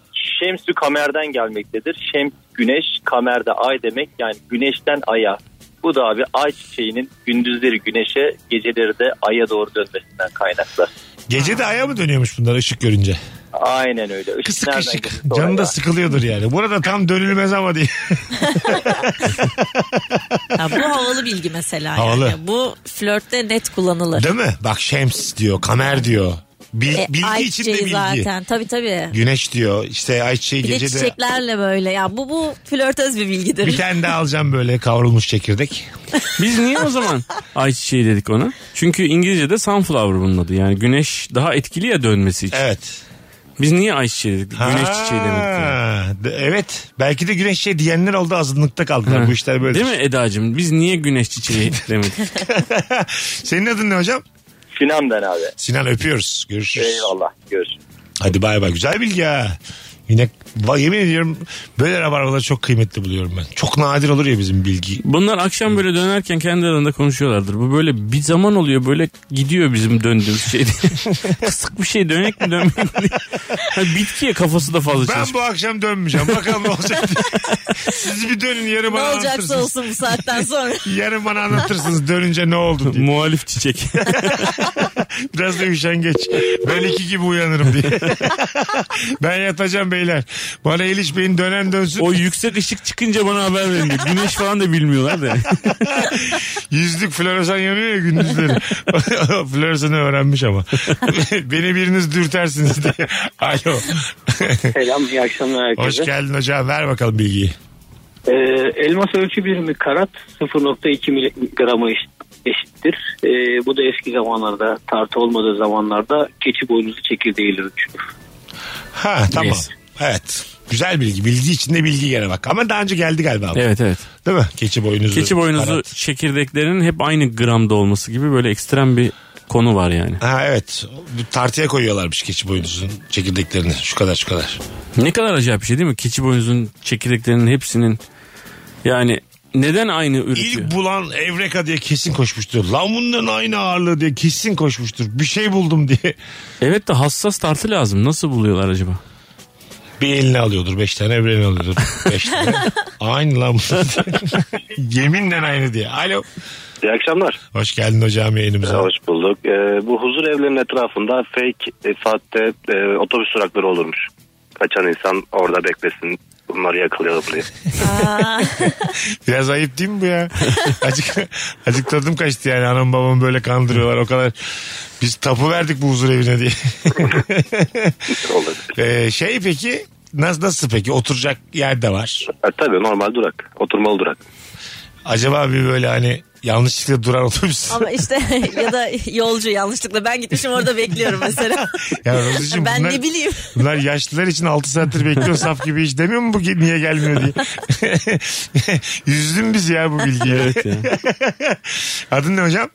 Speaker 11: Şemsü Kamer'den gelmektedir. Şems güneş, Kamer de ay demek yani güneşten aya. Bu da abi ay çiçeğinin gündüzleri güneşe, geceleri de aya doğru dönmesinden kaynaklı.
Speaker 3: Gece de aya mı dönüyormuş bunlar ışık görünce?
Speaker 11: Aynen öyle. Işık
Speaker 3: Kısık
Speaker 11: nereden
Speaker 3: kışık.
Speaker 11: gelirse oraya.
Speaker 3: Canı da sıkılıyordur yani. Burada tam dönülmez ama (laughs) diye.
Speaker 4: Ya bu havalı bilgi mesela.
Speaker 3: Havalı.
Speaker 4: Yani. Bu flörtte net kullanılır.
Speaker 3: Değil mi? Bak Şems diyor, Kamer diyor. Bil-
Speaker 4: E,
Speaker 3: bilgi için de
Speaker 4: ayçiçeği
Speaker 3: bilgi.
Speaker 4: zaten. Tabii tabii.
Speaker 3: Güneş diyor işte Ayçiçeği
Speaker 4: Bir de
Speaker 3: gece de
Speaker 4: çiçeklerle böyle ya. Bu bu flörtöz bir bilgidir.
Speaker 3: bir tane daha alacağım böyle kavrulmuş çekirdek.
Speaker 5: Biz niye
Speaker 3: (laughs)
Speaker 5: o zaman ayçiçeği dedik ona? Çünkü İngilizce'de sunflower bunun adı. Yani güneş daha etkili ya dönmesi için.
Speaker 3: Evet.
Speaker 5: Biz niye ayçiçeği dedik? Güneş
Speaker 3: Ha,
Speaker 5: çiçeği demek. yani.
Speaker 3: de- Evet. Belki de güneş çiçeği diyenler oldu azınlıkta kaldılar. Bu işler böyle.
Speaker 5: Değil mi Eda'cığım? Biz niye
Speaker 3: (laughs)
Speaker 5: güneş çiçeği demedik?
Speaker 3: Senin adın ne hocam?
Speaker 12: Sinan ben abi.
Speaker 3: Sinan öpüyoruz. Görüşürüz.
Speaker 12: Eyvallah. Görüşürüz.
Speaker 3: Hadi bay bay. Güzel bilgi ha. Yine va- yemin ediyorum böyle rabarbaları çok kıymetli buluyorum ben. Çok nadir olur ya bizim bilgi.
Speaker 5: Bunlar akşam böyle dönerken kendi aralarında konuşuyorlardır. Bu böyle bir zaman oluyor böyle gidiyor bizim döndüğümüz şey. diye. (laughs) Kısık bir şey dönek mi dönmek mi diye. Ha, bitkiye kafası da fazla
Speaker 3: Ben
Speaker 5: çalışıyor.
Speaker 3: bu akşam dönmeyeceğim. Bakalım ne
Speaker 4: (laughs)
Speaker 3: olacak diye. Siz bir dönün yarın
Speaker 4: ne
Speaker 3: bana
Speaker 4: olacaksa
Speaker 3: anlatırsınız.
Speaker 4: olsun bu
Speaker 3: (laughs)
Speaker 4: saatten sonra.
Speaker 3: Yarın bana anlatırsınız dönünce ne oldu
Speaker 4: (laughs)
Speaker 3: diye.
Speaker 5: Muhalif çiçek.
Speaker 3: Biraz da üşengeç. Ben iki gibi uyanırım
Speaker 4: (laughs)
Speaker 3: diye. ben yatacağım beyler. Bana Eliş Bey'in dönen dönsün.
Speaker 5: o yüksek ışık çıkınca bana haber verin diyor. Güneş falan da bilmiyorlar da.
Speaker 3: Yüzlük floresan yanıyor ya
Speaker 4: (laughs)
Speaker 3: gündüzleri. Floresanı öğrenmiş ama. Beni biriniz dürtersiniz diye. Alo.
Speaker 12: Selam iyi akşamlar
Speaker 3: Hoş
Speaker 12: herkese.
Speaker 3: geldin hocam. Ver bakalım bilgiyi.
Speaker 12: Ee, elmas ölçü birimi karat 0.2 miligrama eş- eşittir. Ee, bu da eski zamanlarda tartı olmadığı zamanlarda keçi boynuzu çekirdeğiyle ölçülür.
Speaker 3: Ha tamam.
Speaker 5: Neyse.
Speaker 3: Evet. Güzel bilgi. Bilgi içinde bilgi gene bak. Ama daha önce geldi galiba. bu.
Speaker 5: (laughs) evet evet.
Speaker 3: Değil mi? Keçi boynuzu.
Speaker 5: Keçi boynuzu
Speaker 3: karat.
Speaker 5: çekirdeklerinin hep aynı gramda olması gibi böyle ekstrem bir konu var yani.
Speaker 3: Ha evet. Bu tartıya koyuyorlarmış keçi boynuzun çekirdeklerini. Şu kadar şu kadar.
Speaker 5: Ne kadar acayip bir şey değil mi? Keçi boynuzun çekirdeklerinin hepsinin yani neden aynı üretiyor?
Speaker 3: İlk bulan Evreka diye kesin koşmuştur. Lan bunların aynı ağırlığı diye kesin koşmuştur. Bir şey buldum diye.
Speaker 5: Evet de hassas tartı lazım. Nasıl buluyorlar acaba?
Speaker 3: Bir eline alıyordur. Beş tane öbür eline alıyordur. Beş
Speaker 5: (laughs)
Speaker 3: tane. aynı (laughs) lan bunlar diye. Yeminle aynı diye. Alo.
Speaker 12: İyi akşamlar.
Speaker 3: Hoş geldin hocam yayınımıza.
Speaker 12: Hoş bulduk. Ee, bu huzur evlerinin etrafında fake e, saatte e, otobüs durakları olurmuş. Kaçan insan orada beklesin. Bunları yakalıyor
Speaker 3: (laughs)
Speaker 12: buraya.
Speaker 4: Aa,
Speaker 3: Biraz ayıp değil mi bu (laughs) ya? acık, acık tadım kaçtı yani. Anam babam böyle kandırıyorlar. O kadar biz tapu verdik bu huzur evine diye.
Speaker 12: Olabilir.
Speaker 3: Ee, şey peki nasıl, nasıl peki oturacak yer de var.
Speaker 12: E, tabii normal durak. Oturmalı durak.
Speaker 3: Acaba bir böyle hani yanlışlıkla duran otobüs.
Speaker 4: ama işte ya da yolcu yanlışlıkla ben gitmişim orada bekliyorum
Speaker 3: (laughs)
Speaker 4: mesela.
Speaker 3: (laughs) Ya Rozucuğum
Speaker 4: ben
Speaker 3: bunlar-
Speaker 4: ne bileyim.
Speaker 3: Bunlar yaşlılar için 6 saattir bekliyor saf gibi hiç demiyor mu bu ge- niye gelmiyor diye. (laughs) Yüzdün biz ya bu bilgiye. (laughs) Adın ne hocam?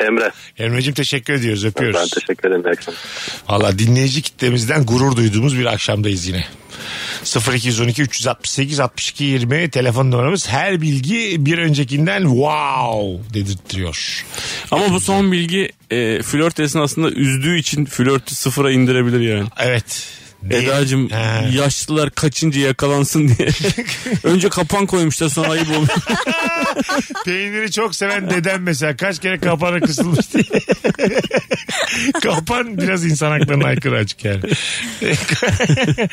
Speaker 12: Emre.
Speaker 3: Emre'cim teşekkür ediyoruz öpüyoruz.
Speaker 12: Ben teşekkür ederim. İyi akşamlar.
Speaker 3: Valla dinleyici kitlemizden gurur duyduğumuz bir akşamdayız yine. 0212 368 62 20 telefon numaramız her bilgi bir öncekinden wow dedirtiyor.
Speaker 5: Ama bu son bilgi e, flört esnasında üzdüğü için flörtü sıfıra indirebilir yani.
Speaker 3: Evet. Diye-
Speaker 5: Eda'cığım
Speaker 3: Ha.
Speaker 5: yaşlılar kaçınca yakalansın diye. Önce kapan koymuşlar sonra ayıp olmuş.
Speaker 3: Peyniri çok seven dedem mesela kaç kere kapana kısılmış diye. (laughs) Kapan biraz insan haklarına aykırı açık yani. (laughs)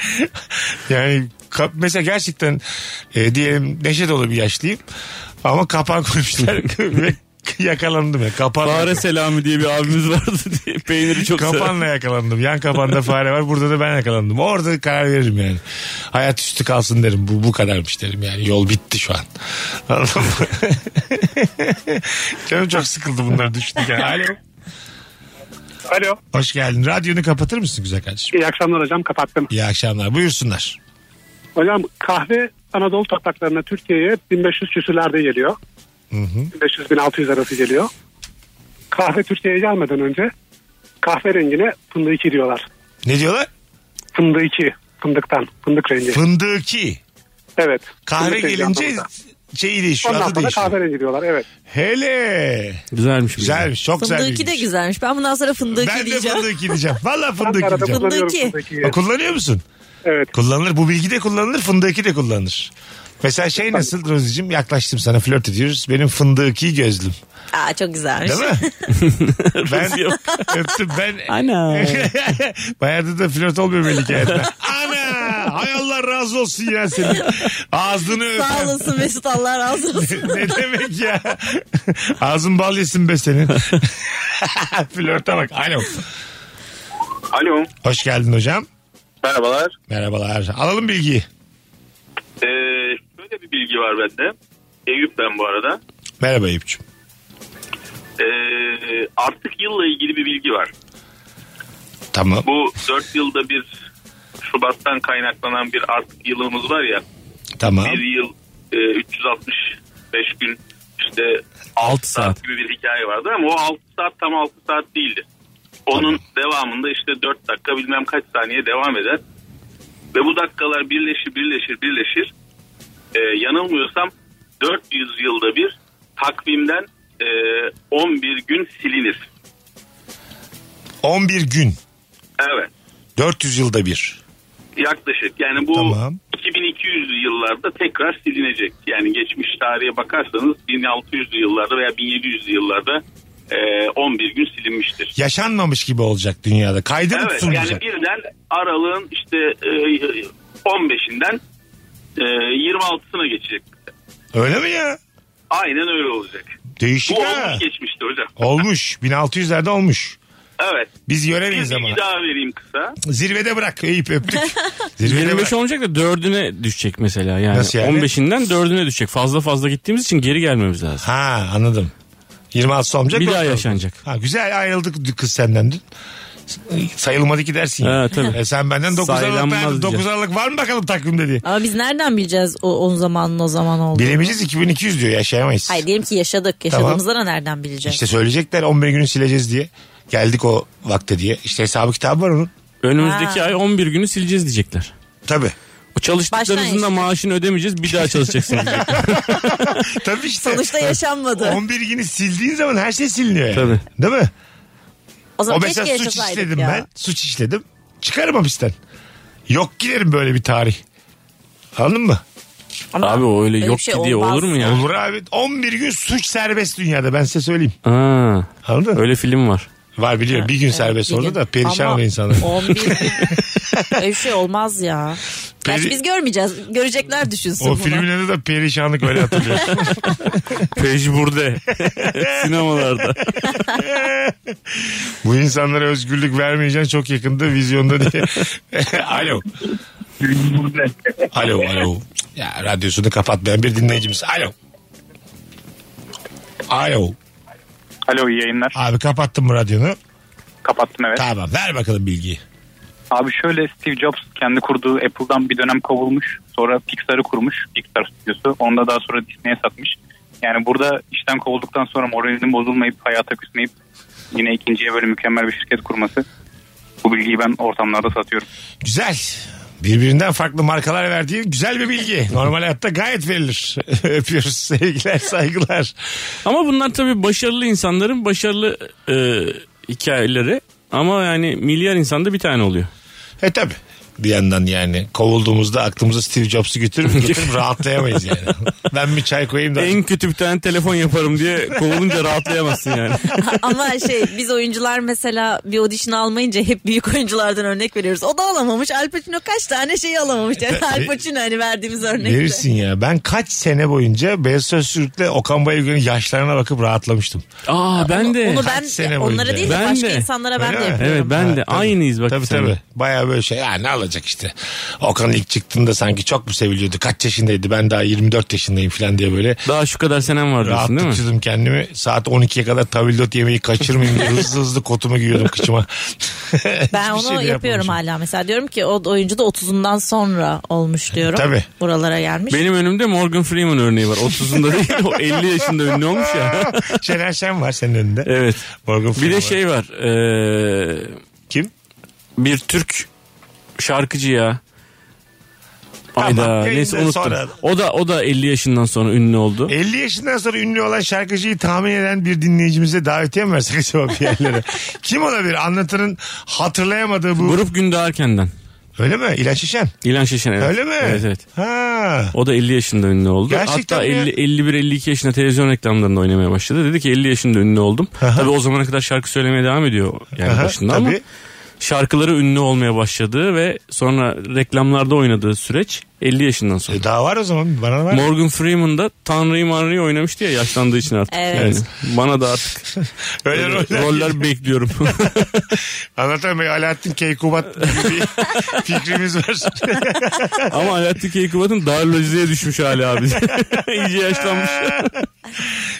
Speaker 3: yani kap, mesela gerçekten e, diyelim neşe dolu bir yaşlıyım ama kapan koymuşlar ve yakalandım ya. Kapanla,
Speaker 5: Fare Selami diye bir abimiz vardı diye
Speaker 3: (laughs)
Speaker 5: peyniri çok sever.
Speaker 3: kapanla yakalandım. Yan kapanda fare var burada da ben yakalandım. Orada karar veririm yani. Hayat üstü kalsın derim. Bu, bu kadarmış derim yani. Yol bitti şu an. (laughs) Anladın mı? Canım çok sıkıldı bunları düşünürken. Alo.
Speaker 8: Alo.
Speaker 3: Hoş geldin. Radyonu kapatır mısın güzel kardeşim?
Speaker 8: İyi akşamlar hocam kapattım.
Speaker 3: İyi akşamlar. Buyursunlar.
Speaker 8: Hocam kahve Anadolu topraklarına Türkiye'ye 1500 küsürlerde geliyor. 1500-1600 arası geliyor. Kahve Türkiye'ye gelmeden önce kahverengine fındığı diyorlar.
Speaker 3: Ne diyorlar?
Speaker 8: Fındığı fındıktan, fındık rengi.
Speaker 3: Fındıki.
Speaker 8: evet.
Speaker 3: Kahve
Speaker 8: Fındık rengi
Speaker 3: gelince
Speaker 8: anlamında.
Speaker 3: şeyi değişiyor.
Speaker 8: Ondan
Speaker 3: Adı
Speaker 8: sonra
Speaker 3: değişiyor.
Speaker 8: kahverengi diyorlar evet.
Speaker 3: Hele.
Speaker 5: Güzelmiş. bu yani.
Speaker 3: Güzelmiş. Çok güzel.
Speaker 4: Fındığı de
Speaker 3: bilgiymiş.
Speaker 4: güzelmiş. Ben bundan sonra fındığı
Speaker 3: Ben de
Speaker 4: diyeceğim.
Speaker 3: fındıki diyeceğim. Valla fındıki
Speaker 8: Arada
Speaker 3: diyeceğim.
Speaker 8: kullanıyorum
Speaker 4: Fındığı iki.
Speaker 8: fındığı
Speaker 3: Ha,
Speaker 8: ikiyi.
Speaker 3: Kullanıyor musun?
Speaker 8: Evet.
Speaker 3: Kullanılır. Bu bilgi de kullanılır. Fındıki de kullanılır. Mesela şey nasıl Rozi'cim yaklaştım sana flört ediyoruz. Benim fındıki gözlüm.
Speaker 4: Aa, çok güzelmiş.
Speaker 3: Değil mi? ben öptüm ben.
Speaker 5: Ana.
Speaker 3: (laughs) Bayağıdır da flört olmuyor Melike Hayat'ta. Ana! Hay Allah razı olsun ya senin. Ağzını
Speaker 4: Sağ
Speaker 3: öpen.
Speaker 4: olasın Mesut Allah razı olsun.
Speaker 3: (laughs) ne demek ya? (laughs) Ağzın bal yesin be senin. Flörte bak. Alo.
Speaker 10: Alo.
Speaker 3: Hoş geldin hocam.
Speaker 10: Merhabalar.
Speaker 3: Merhabalar. Alalım bilgiyi.
Speaker 10: Ee, şöyle bir bilgi var bende. Eyüp ben bu arada.
Speaker 3: Merhaba Eyüp'cüğüm.
Speaker 10: Ee, artık yılla ilgili bir bilgi var.
Speaker 3: Tamam.
Speaker 10: Bu 4 yılda bir Şubat'tan kaynaklanan bir artık yılımız var ya.
Speaker 3: Tamam.
Speaker 10: Bir yıl e, 365 gün işte 6 saat. gibi bir hikaye vardı ama o 6 saat tam 6 saat değildi. Onun devamında işte 4 dakika bilmem kaç saniye devam eder. Ve bu dakikalar birleşir birleşir birleşir. E, yanılmıyorsam 400 yılda bir takvimden e, 11 gün silinir.
Speaker 3: 11 gün.
Speaker 10: Evet
Speaker 3: 400 yılda bir.
Speaker 10: yaklaşık yani bu
Speaker 3: Tamam.
Speaker 10: 2200'lü yıllarda tekrar silinecek. Yani geçmiş tarihe bakarsanız 1600'lü yıllarda veya 1700'lü yıllarda e, 11 gün silinmiştir.
Speaker 3: Yaşanmamış gibi olacak dünyada. Kaydı mı
Speaker 10: evet
Speaker 3: tutulmayacak?
Speaker 10: yani birden aralığın işte e, 15'inden e, 26'sına geçecek.
Speaker 3: Öyle mi ya?
Speaker 10: Aynen öyle olacak.
Speaker 3: Değişik
Speaker 10: Bu
Speaker 3: ha.
Speaker 10: olmuş geçmişti hocam.
Speaker 3: Olmuş. 1600'lerde olmuş.
Speaker 10: Evet.
Speaker 3: Biz göremeyiz
Speaker 10: Bir
Speaker 3: ama.
Speaker 10: bilgi daha vereyim kısa.
Speaker 3: Zirvede bırak. Eyüp öptük. Zirvede
Speaker 5: 25
Speaker 3: bırak.
Speaker 5: olmayacak da 4'üne düşecek mesela. Yani,
Speaker 3: Nasıl yani?
Speaker 5: 15'inden 4'üne düşecek. Fazla fazla gittiğimiz için geri gelmemiz lazım.
Speaker 3: Ha anladım. 26 olmayacak.
Speaker 5: Bir daha
Speaker 3: dört
Speaker 5: yaşanacak.
Speaker 3: Ha, güzel ayrıldık kız senden dün. Sayılmadı ki dersin.
Speaker 5: Ha,
Speaker 3: ya.
Speaker 5: tabii.
Speaker 3: E sen benden 9 Aralık,
Speaker 5: Sayılanmaz
Speaker 3: ben,
Speaker 5: diye.
Speaker 3: 9 Aralık var mı bakalım takvimde diye.
Speaker 4: Ama biz nereden bileceğiz o, o zamanın o zaman olduğunu?
Speaker 3: Bilemeyeceğiz 2200 diyor yaşayamayız.
Speaker 4: Hayır diyelim ki yaşadık. Yaşadığımızda da nereden bileceğiz?
Speaker 3: İşte söyleyecekler 11 günü sileceğiz diye. Geldik o vakte diye. İşte hesabı kitabı var onun.
Speaker 5: Önümüzdeki ay 11 günü sileceğiz diyecekler.
Speaker 3: Tabii.
Speaker 5: O çalıştıklarınızın da maaşını ödemeyeceğiz bir daha çalışacaksınız diyecekler.
Speaker 3: (laughs) Tabii işte.
Speaker 4: Sonuçta yaşanmadı.
Speaker 3: 11 günü sildiğin zaman her şey siliniyor yani. Değil mi?
Speaker 4: O zaman
Speaker 3: mesela
Speaker 4: keşke
Speaker 3: suç
Speaker 4: yaşasaydık
Speaker 3: işledim
Speaker 4: ya.
Speaker 3: ben. Suç işledim. Çıkarım hapisten. Yok giderim böyle bir tarih. Anladın mı?
Speaker 5: Abi o öyle, yok ki diye olur mu ya?
Speaker 3: Olur abi. 11 gün suç serbest dünyada ben size söyleyeyim.
Speaker 5: Ha,
Speaker 3: Anladın mı?
Speaker 5: öyle
Speaker 3: (laughs)
Speaker 5: film var.
Speaker 3: Var biliyorum. Bir gün
Speaker 4: Evet,
Speaker 3: serbest
Speaker 4: bir
Speaker 3: orada
Speaker 4: gün.
Speaker 3: da perişan
Speaker 4: Ama
Speaker 3: olan insanlar. (laughs)
Speaker 4: 11 gün. Öyle bir şey olmaz ya. Gerçi
Speaker 3: Peri-
Speaker 4: biz görmeyeceğiz. Görecekler düşünsün
Speaker 3: O
Speaker 4: bunu.
Speaker 3: filmin adı da perişanlık öyle hatırlıyorum.
Speaker 5: Pejburde. (laughs) Sinemalarda.
Speaker 3: Bu insanlara özgürlük vermeyeceksin çok yakında vizyonda diye. (laughs) alo. alo alo. Ya radyosunu kapatmayan bir dinleyicimiz. Alo. Alo.
Speaker 13: Alo iyi yayınlar.
Speaker 3: Abi kapattın mı radyonu?
Speaker 13: Kapattım evet.
Speaker 3: Tamam ver bakalım bilgiyi.
Speaker 13: Abi şöyle Steve Jobs kendi kurduğu Apple'dan bir dönem kovulmuş. Sonra Pixar'ı kurmuş. Pixar stüdyosu. Onu da daha sonra Disney'e satmış. Yani burada işten kovulduktan sonra moralinin bozulmayıp hayata küsmeyip yine ikinciye böyle mükemmel bir şirket kurması. Bu bilgiyi ben ortamlarda satıyorum.
Speaker 3: Güzel. Birbirinden farklı markalar verdiği güzel bir bilgi. Normal hayatta gayet verilir. (laughs) Öpüyoruz. Sevgiler, saygılar.
Speaker 5: Ama bunlar tabii başarılı insanların başarılı e, hikayeleri. Ama yani milyar insanda bir tane oluyor.
Speaker 3: E tabi. Bir yandan yani kovulduğumuzda aklımıza Steve Jobs'u götürüp (laughs) götürüp rahatlayamayız yani. Ben bir çay koyayım da.
Speaker 5: En kötü bir tane telefon yaparım diye kovulunca rahatlayamazsın yani.
Speaker 4: (laughs)
Speaker 3: (laughs)
Speaker 4: Ama şey biz oyuncular mesela bir audition almayınca hep büyük oyunculardan örnek veriyoruz. O da alamamış. Al Pacino kaç tane şeyi alamamış. Yani
Speaker 3: Tabii.
Speaker 4: Al Pacino hani verdiğimiz örnekte.
Speaker 3: Verirsin ya. Ben kaç sene boyunca Beyaz Sözcük'le Okan Bayülgen'in yaşlarına bakıp rahatlamıştım.
Speaker 5: Aa ben de.
Speaker 4: Onu ben onlara değil de
Speaker 5: Ben
Speaker 4: başka
Speaker 5: de.
Speaker 4: insanlara ben
Speaker 3: Öyle
Speaker 4: de
Speaker 3: mi?
Speaker 4: yapıyorum.
Speaker 5: Evet ben de aynıyız bak.
Speaker 3: Tabii
Speaker 5: sen.
Speaker 3: tabii. Baya böyle şey. Ya ne alacak işte. Okan ilk çıktığında sanki çok mu seviliyordu? Kaç yaşındaydı? Ben daha 24 yaşındayım falan diye böyle.
Speaker 5: Daha şu kadar senem var diyorsun değil mi?
Speaker 3: Rahatlık çizdim kendimi. Saat 12'ye kadar tavildot yemeği kaçırmayayım
Speaker 5: (laughs)
Speaker 3: diye hızlı hızlı kotumu giyiyordum kıçıma.
Speaker 4: Ben
Speaker 3: (laughs) Hiçbir
Speaker 4: onu
Speaker 3: şey de
Speaker 4: yapıyorum
Speaker 3: yapmamışım.
Speaker 4: hala mesela diyorum ki o oyuncu da 30'undan sonra olmuş diyorum.
Speaker 3: Tabii.
Speaker 4: Buralara gelmiş.
Speaker 5: Benim önümde Morgan Freeman örneği var. 30'unda değil o 50 yaşında ünlü olmuş
Speaker 3: (laughs)
Speaker 5: ya.
Speaker 3: Şener Şen var senin önünde.
Speaker 5: Evet.
Speaker 3: Morgan
Speaker 5: Ee,
Speaker 3: Freeman
Speaker 5: Bir de
Speaker 3: var.
Speaker 5: şey var. eee,
Speaker 3: Kim?
Speaker 5: bir Türk şarkıcı ya. Ayda
Speaker 3: Tamam, yayında
Speaker 5: neyse unuttum.
Speaker 3: sonra- E,
Speaker 5: O da o da 50 yaşından sonra ünlü oldu.
Speaker 3: 50 yaşından sonra ünlü olan şarkıcıyı tahmin eden bir dinleyicimize davetiye mi versek acaba bir yerlere?
Speaker 5: (laughs)
Speaker 3: Kim olabilir? Anlatının hatırlayamadığı bu.
Speaker 5: Grup Gündoğarken'den.
Speaker 3: Öyle mi? İlaç Şişen.
Speaker 5: İlan Şeşen evet.
Speaker 3: Öyle mi?
Speaker 5: Evet evet.
Speaker 3: Ha.
Speaker 5: O da 50 yaşında ünlü oldu.
Speaker 3: Gerçekten
Speaker 5: Hatta
Speaker 3: mi ya?
Speaker 5: 51-52 yaşında televizyon reklamlarında oynamaya başladı. Dedi ki 50 yaşında ünlü oldum. Tabii o zamana kadar şarkı söylemeye devam ediyor yani
Speaker 3: Aha,
Speaker 5: başında ama.
Speaker 3: tabii.
Speaker 5: şarkıları ünlü olmaya başladığı ve sonra reklamlarda oynadığı süreç 50 yaşından sonra.
Speaker 3: E, daha var o zaman bana var.
Speaker 5: Morgan Freeman da Tanrı'yı Manrı'yı oynamıştı ya yaşlandığı için artık.
Speaker 3: Evet.
Speaker 5: Yani bana da
Speaker 3: (laughs)
Speaker 5: artık
Speaker 3: Öyle roller-
Speaker 5: roller bekliyorum. (laughs)
Speaker 3: Anlatamayın Alaaddin Keykubat gibi
Speaker 5: (laughs)
Speaker 3: bir fikrimiz var. (laughs)
Speaker 5: Ama Alaaddin Keykubat'ın darlojizeye düşmüş hali abi. (laughs) İyice yaşlanmış.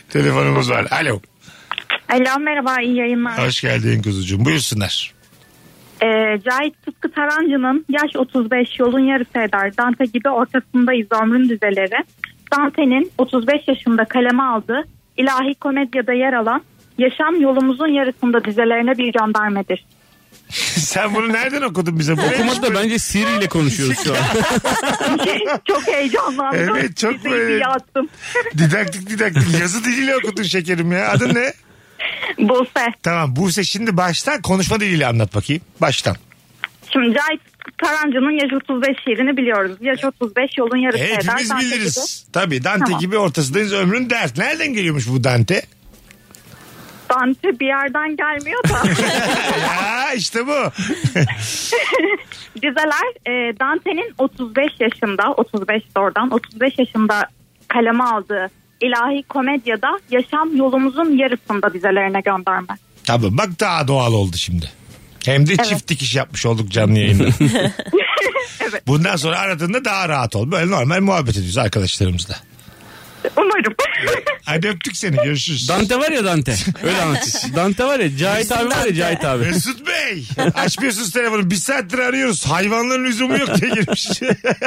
Speaker 3: Telefonumuz var. Alo.
Speaker 9: Alo merhaba iyi yayınlar.
Speaker 3: Hoş geldin kuzucuğum. Buyursunlar. (laughs)
Speaker 9: Ee, Cahit Tıpkı Tarancı'nın Yaş 35 Yolun Yarısı Eder Dante gibi ortasındayız ömrün düzeleri. Dante'nin 35 yaşında kaleme aldığı ilahi komedyada yer alan Yaşam yolumuzun yarısında dizelerine bir
Speaker 3: (laughs)
Speaker 9: jandarmedir.
Speaker 3: Sen bunu nereden okudun bize? Bu
Speaker 5: Okumak da bence Siri ile konuşuyoruz şu an.
Speaker 9: çok heyecanlandım.
Speaker 3: Evet, çok
Speaker 9: Dizeyi
Speaker 3: böyle-
Speaker 9: bir yattım.
Speaker 3: Didaktik didaktik. Yazı diliyle okudun şekerim ya. Adın ne?
Speaker 9: Buse.
Speaker 3: Tamam Buse şimdi baştan konuşma diliyle anlat bakayım. Baştan.
Speaker 9: Şimdi Cahit Tarancı'nın Yaş 35 şiirini biliyoruz. Yaş 35 Yolun Yarısı Eder.
Speaker 3: E, Hepimiz
Speaker 9: Dante gibi.
Speaker 3: biliriz. Tabii Dante
Speaker 9: Tamam.
Speaker 3: gibi ortasındayız ömrün dert. Nereden geliyormuş bu Dante?
Speaker 9: (laughs) Dante bir yerden gelmiyor da.
Speaker 3: (laughs) ya işte bu.
Speaker 9: Dizeler e, Dante'nin 35 yaşında 35 de oradan 35 yaşında kaleme aldığı ilahi komedyada yaşam yolumuzun yarısında dizelerine gönderme.
Speaker 3: Tamam bak daha doğal oldu şimdi. Hem de
Speaker 9: Evet.
Speaker 3: çift dikiş yapmış olduk canlı yayında.
Speaker 9: (laughs)
Speaker 3: (laughs) Bundan sonra aradığında daha rahat ol. Böyle normal muhabbet ediyoruz arkadaşlarımızla.
Speaker 9: Umarım.
Speaker 3: Hadi öptük seni görüşürüz.
Speaker 5: Dante var
Speaker 3: (laughs)
Speaker 5: ya Dante. Öyle anlat. Dante var ya Cahit abi var ya Cahit abi.
Speaker 3: Mesut Bey açmıyorsunuz telefonu. Bir saattir arıyoruz. Hayvanların lüzumu yok diye girmiş.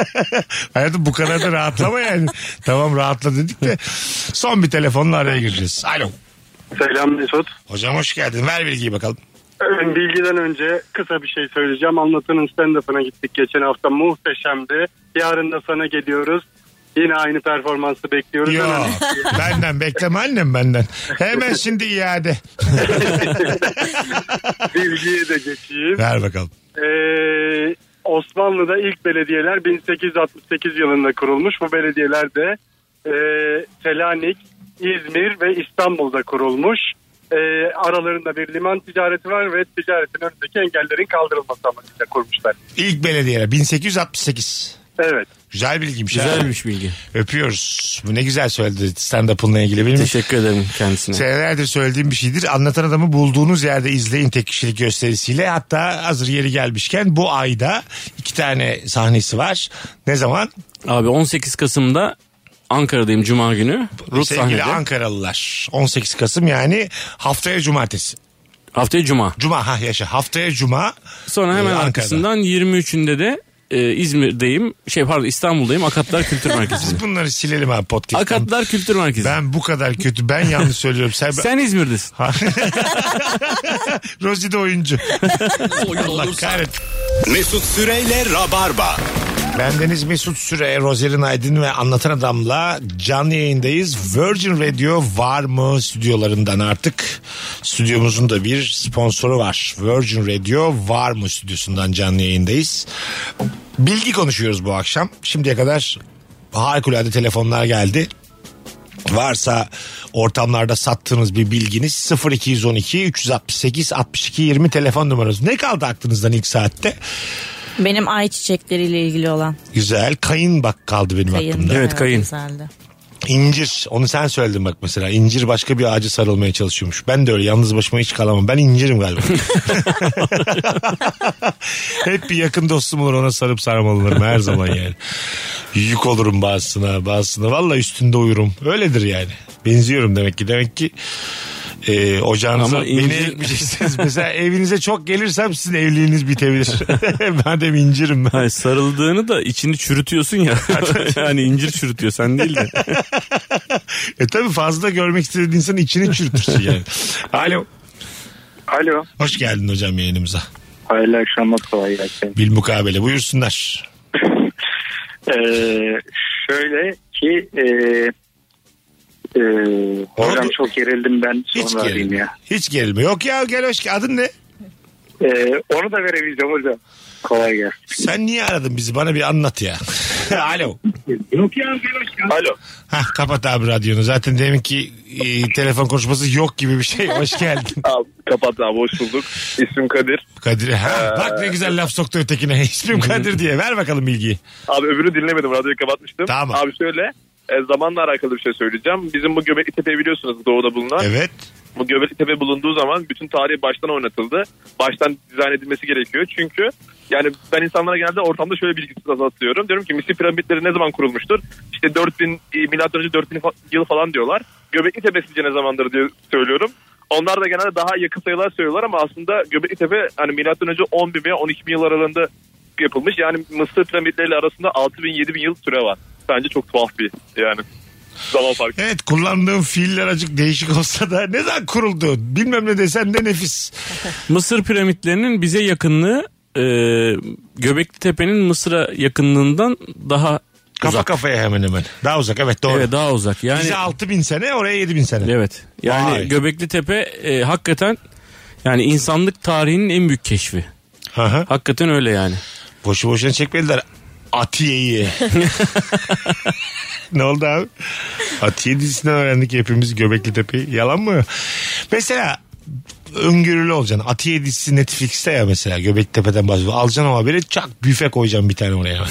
Speaker 3: (laughs) Hayatım bu kadar da rahatlama yani. tamam rahatla dedik de son bir telefonla araya gireceğiz. Alo.
Speaker 14: Selam Mesut.
Speaker 3: Hocam hoş geldin. Ver bilgiyi bakalım.
Speaker 14: Ee, Bilgiden önce kısa bir şey söyleyeceğim. Anlatanın stand-up'ına gittik geçen hafta. Muhteşemdi. Yarın da sana geliyoruz. Yine aynı performansı bekliyoruz.
Speaker 3: Yo,
Speaker 14: Hemen- (laughs)
Speaker 3: benden bekleme annem benden. Hemen şimdi iade.
Speaker 14: Bilgiye de geçeyim.
Speaker 3: Ver bakalım.
Speaker 14: Ee, Osmanlı'da ilk belediyeler 1868 yılında kurulmuş. Bu belediyeler de e, Selanik, İzmir ve İstanbul'da kurulmuş. E, aralarında bir liman ticareti var ve ticaretin önündeki engellerin kaldırılması amacıyla kurmuşlar.
Speaker 3: İlk belediyeler 1868.
Speaker 14: Evet.
Speaker 3: Güzel bilgiymiş. ha.
Speaker 5: Güzelmiş bilgi.
Speaker 3: Öpüyoruz. Bu ne güzel söyledi stand-up'ınla ilgili benim.
Speaker 5: Teşekkür ederim kendisine.
Speaker 3: Senelerdir söylediğim bir şeydir. Anlatan adamı bulduğunuz yerde izleyin tek kişilik gösterisiyle. Hatta hazır yeri gelmişken bu ayda iki tane sahnesi var. Ne zaman?
Speaker 5: Abi 18 Kasım'da Ankara'dayım Cuma günü. Rut
Speaker 3: Sevgili
Speaker 5: sahnede.
Speaker 3: Ankaralılar. 18 Kasım yani haftaya cumartesi.
Speaker 5: Haftaya cuma.
Speaker 3: Cuma ha yaşa. Haftaya cuma.
Speaker 5: Sonra
Speaker 3: Ee,
Speaker 5: hemen
Speaker 3: Ankara'da.
Speaker 5: arkasından 23'ünde de e, İzmir'deyim. Şey pardon İstanbul'dayım Akatlar Kültür
Speaker 3: (laughs)
Speaker 5: Merkezi'nde.
Speaker 3: Biz bunları silelim abi podcast'tan.
Speaker 5: Akatlar Kültür Merkezi.
Speaker 3: Ben bu kadar kötü. Ben yanlış söylüyorum. Sen,
Speaker 5: Sen İzmir'desin.
Speaker 3: Rosie de oyuncu. Allah kahretsin.
Speaker 2: Mesut Süreyle Rabarba.
Speaker 3: Bendeniz Mesut Süre, Rozerin Aydın ve Anlatan Adam'la canlı yayındayız. Virgin Radio var mı stüdyolarından artık? Stüdyomuzun da bir sponsoru var. Virgin Radio var mı stüdyosundan canlı yayındayız. Bilgi konuşuyoruz bu akşam. Şimdiye kadar harikulade telefonlar geldi. Varsa ortamlarda sattığınız bir bilginiz 0212 368 62 20 telefon numaranız. Ne kaldı aklınızdan ilk saatte?
Speaker 4: Benim ay çiçekleriyle ilgili olan.
Speaker 3: Güzel. Kayın bak kaldı benim
Speaker 4: Kayın.
Speaker 3: aklımda.
Speaker 4: Güzeldi.
Speaker 3: İncir. Onu sen söyledin bak mesela. İncir başka bir ağaca sarılmaya çalışıyormuş. Ben de öyle yalnız başıma hiç kalamam. Ben incirim
Speaker 5: (laughs)
Speaker 3: galiba. (laughs) Hep bir yakın dostum olur ona sarıp sarmalanırım her zaman yani. Yük olurum bazısına bazısına. Valla üstünde uyurum. Öyledir yani. Benziyorum demek ki. Demek ki e, ocağınıza
Speaker 5: Ama
Speaker 3: beni
Speaker 5: incir-
Speaker 3: ekmeyeceksiniz. Mesela evinize çok gelirsem sizin evliliğiniz bitebilir. (laughs) Madem incirim ben.
Speaker 5: Hayır, sarıldığını da içini çürütüyorsun ya. (laughs) yani incir çürütüyor sen değil de.
Speaker 3: E tabii fazla görmek istediğin insanın içini çürütürsün yani. Alo.
Speaker 15: Alo.
Speaker 3: Hoş geldin hocam yayınımıza.
Speaker 15: Hayırlı akşamlar kolay gelsin.
Speaker 3: Bil mukabele buyursunlar.
Speaker 15: Ee, şöyle ki e, e, hocam çok gerildim ben
Speaker 3: Hiç
Speaker 15: sonra arayayım
Speaker 3: gerilme.
Speaker 15: ya.
Speaker 3: Hiç gerilme. Yok ya gel hoş gel- Adın ne?
Speaker 15: Ee, onu da veremeyeceğim hocam. Kolay gelsin.
Speaker 3: Sen niye aradın bizi? Bana bir anlat ya. Alo.
Speaker 16: Yok ya. Alo.
Speaker 3: Hah kapat abi radyonu. Zaten deminki e, telefon konuşması yok gibi bir şey. Hoş
Speaker 17: (laughs)
Speaker 3: geldin.
Speaker 16: Abi, kapat abi hoş bulduk. İsmim Kadir.
Speaker 3: Kadir. Ha,
Speaker 16: Ee,
Speaker 3: bak ne güzel laf soktu ötekine. (laughs) İsmim Kadir diye. Ver bakalım bilgiyi.
Speaker 16: Abi öbürü dinlemedim radyoyu kapatmıştım.
Speaker 3: Tamam.
Speaker 16: Abi şöyle e, zamanla alakalı bir şey söyleyeceğim. Bizim bu Göbekli Tepe biliyorsunuz doğuda bulunan.
Speaker 3: Evet.
Speaker 16: Bu Göbekli Tepe bulunduğu zaman bütün tarih baştan oynatıldı. Baştan dizayn edilmesi gerekiyor. Çünkü yani ben insanlara genelde ortamda şöyle bilgisiz azaltıyorum. Diyorum ki Mısır piramitleri ne zaman kurulmuştur? İşte 4000 e, milattan önce 4000 fa- yıl falan diyorlar. Göbekli Tepe sizce ne zamandır diye söylüyorum. Onlar da genelde daha yakın sayılar söylüyorlar ama aslında Göbekli Tepe hani milattan önce 10 bin veya 12 bin yıl aralığında yapılmış. Yani Mısır piramitleriyle arasında 6 bin 7 bin yıl süre var. Bence çok tuhaf bir yani zaman farkı.
Speaker 3: Evet kullandığım fiiller acık değişik olsa da ne zaman kuruldu? Bilmem ne desen de nefis.
Speaker 5: Mısır piramitlerinin bize yakınlığı e, Göbekli Tepe'nin Mısır'a yakınlığından daha
Speaker 3: Kafa kafaya hemen hemen. Daha uzak evet doğru.
Speaker 5: Evet daha uzak. Yani
Speaker 3: Bize 6000 sene oraya 7000 sene.
Speaker 5: evet. Yani
Speaker 3: Vay.
Speaker 5: Göbekli Tepe e, hakikaten yani insanlık tarihinin en büyük keşfi. Hakikaten öyle yani.
Speaker 3: Boşu boşuna çekmediler.
Speaker 5: (laughs)
Speaker 3: Atiye'yi. ne oldu abi? Atiye dizisinden öğrendik hepimiz Göbekli Tepe'yi. Yalan mı? Mesela öngörülü olacaksın. Atiye dizisi Netflix'te ya mesela Göbekli Tepe'den bahsediyor. Alacaksın o haberi çak büfe koyacaksın bir tane oraya.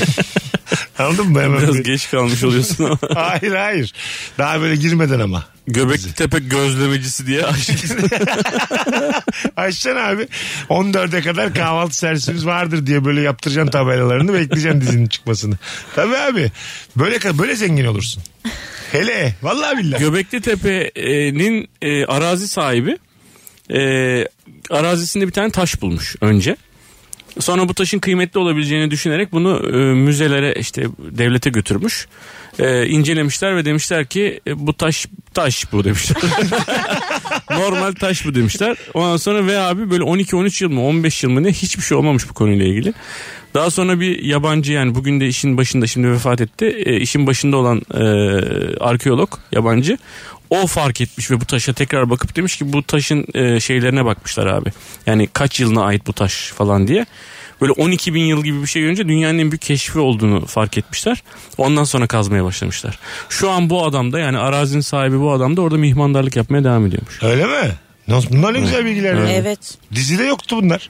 Speaker 5: (laughs)
Speaker 3: Anladın mı? Hemen
Speaker 5: Biraz
Speaker 3: bir-
Speaker 5: geç kalmış oluyorsun ama.
Speaker 3: (laughs) hayır hayır. Daha böyle girmeden ama.
Speaker 5: Göbekli Tepe gözlemecisi diye açtık.
Speaker 3: Açacaksın abi. 14'e kadar kahvaltı servisimiz vardır diye böyle yaptıracaksın tabelalarını bekleyeceksin dizinin çıkmasını. Tabii abi. Böyle böyle zengin olursun. Hele vallahi billahi.
Speaker 5: (laughs) Göbekli Tepe'nin e, arazi sahibi e, arazisinde bir tane taş bulmuş önce. Sonra bu taşın kıymetli olabileceğini düşünerek bunu e, müzelere işte devlete götürmüş. E, incelemişler ve demişler ki e, bu taş taş bu demişler. (laughs) Normal taş bu demişler. Ondan sonra ve abi böyle 12-13 yıl mı 15 yıl mı ne hiçbir şey olmamış bu konuyla ilgili. Daha sonra bir yabancı yani bugün de işin başında şimdi vefat etti. E, işin başında olan e, arkeolog yabancı o fark etmiş ve bu taşa tekrar bakıp demiş ki bu taşın e, şeylerine bakmışlar abi. Yani kaç yılına ait bu taş falan diye. Böyle 12 bin yıl gibi bir şey görünce dünyanın en büyük keşfi olduğunu fark etmişler. Ondan sonra kazmaya başlamışlar. Şu an bu adam da yani arazinin sahibi bu adam da orada mihmandarlık yapmaya devam ediyormuş.
Speaker 3: Öyle mi? Nasıl- Bunlar ne güzel bilgiler. ya.
Speaker 4: Evet.
Speaker 3: Dizide yoktu bunlar.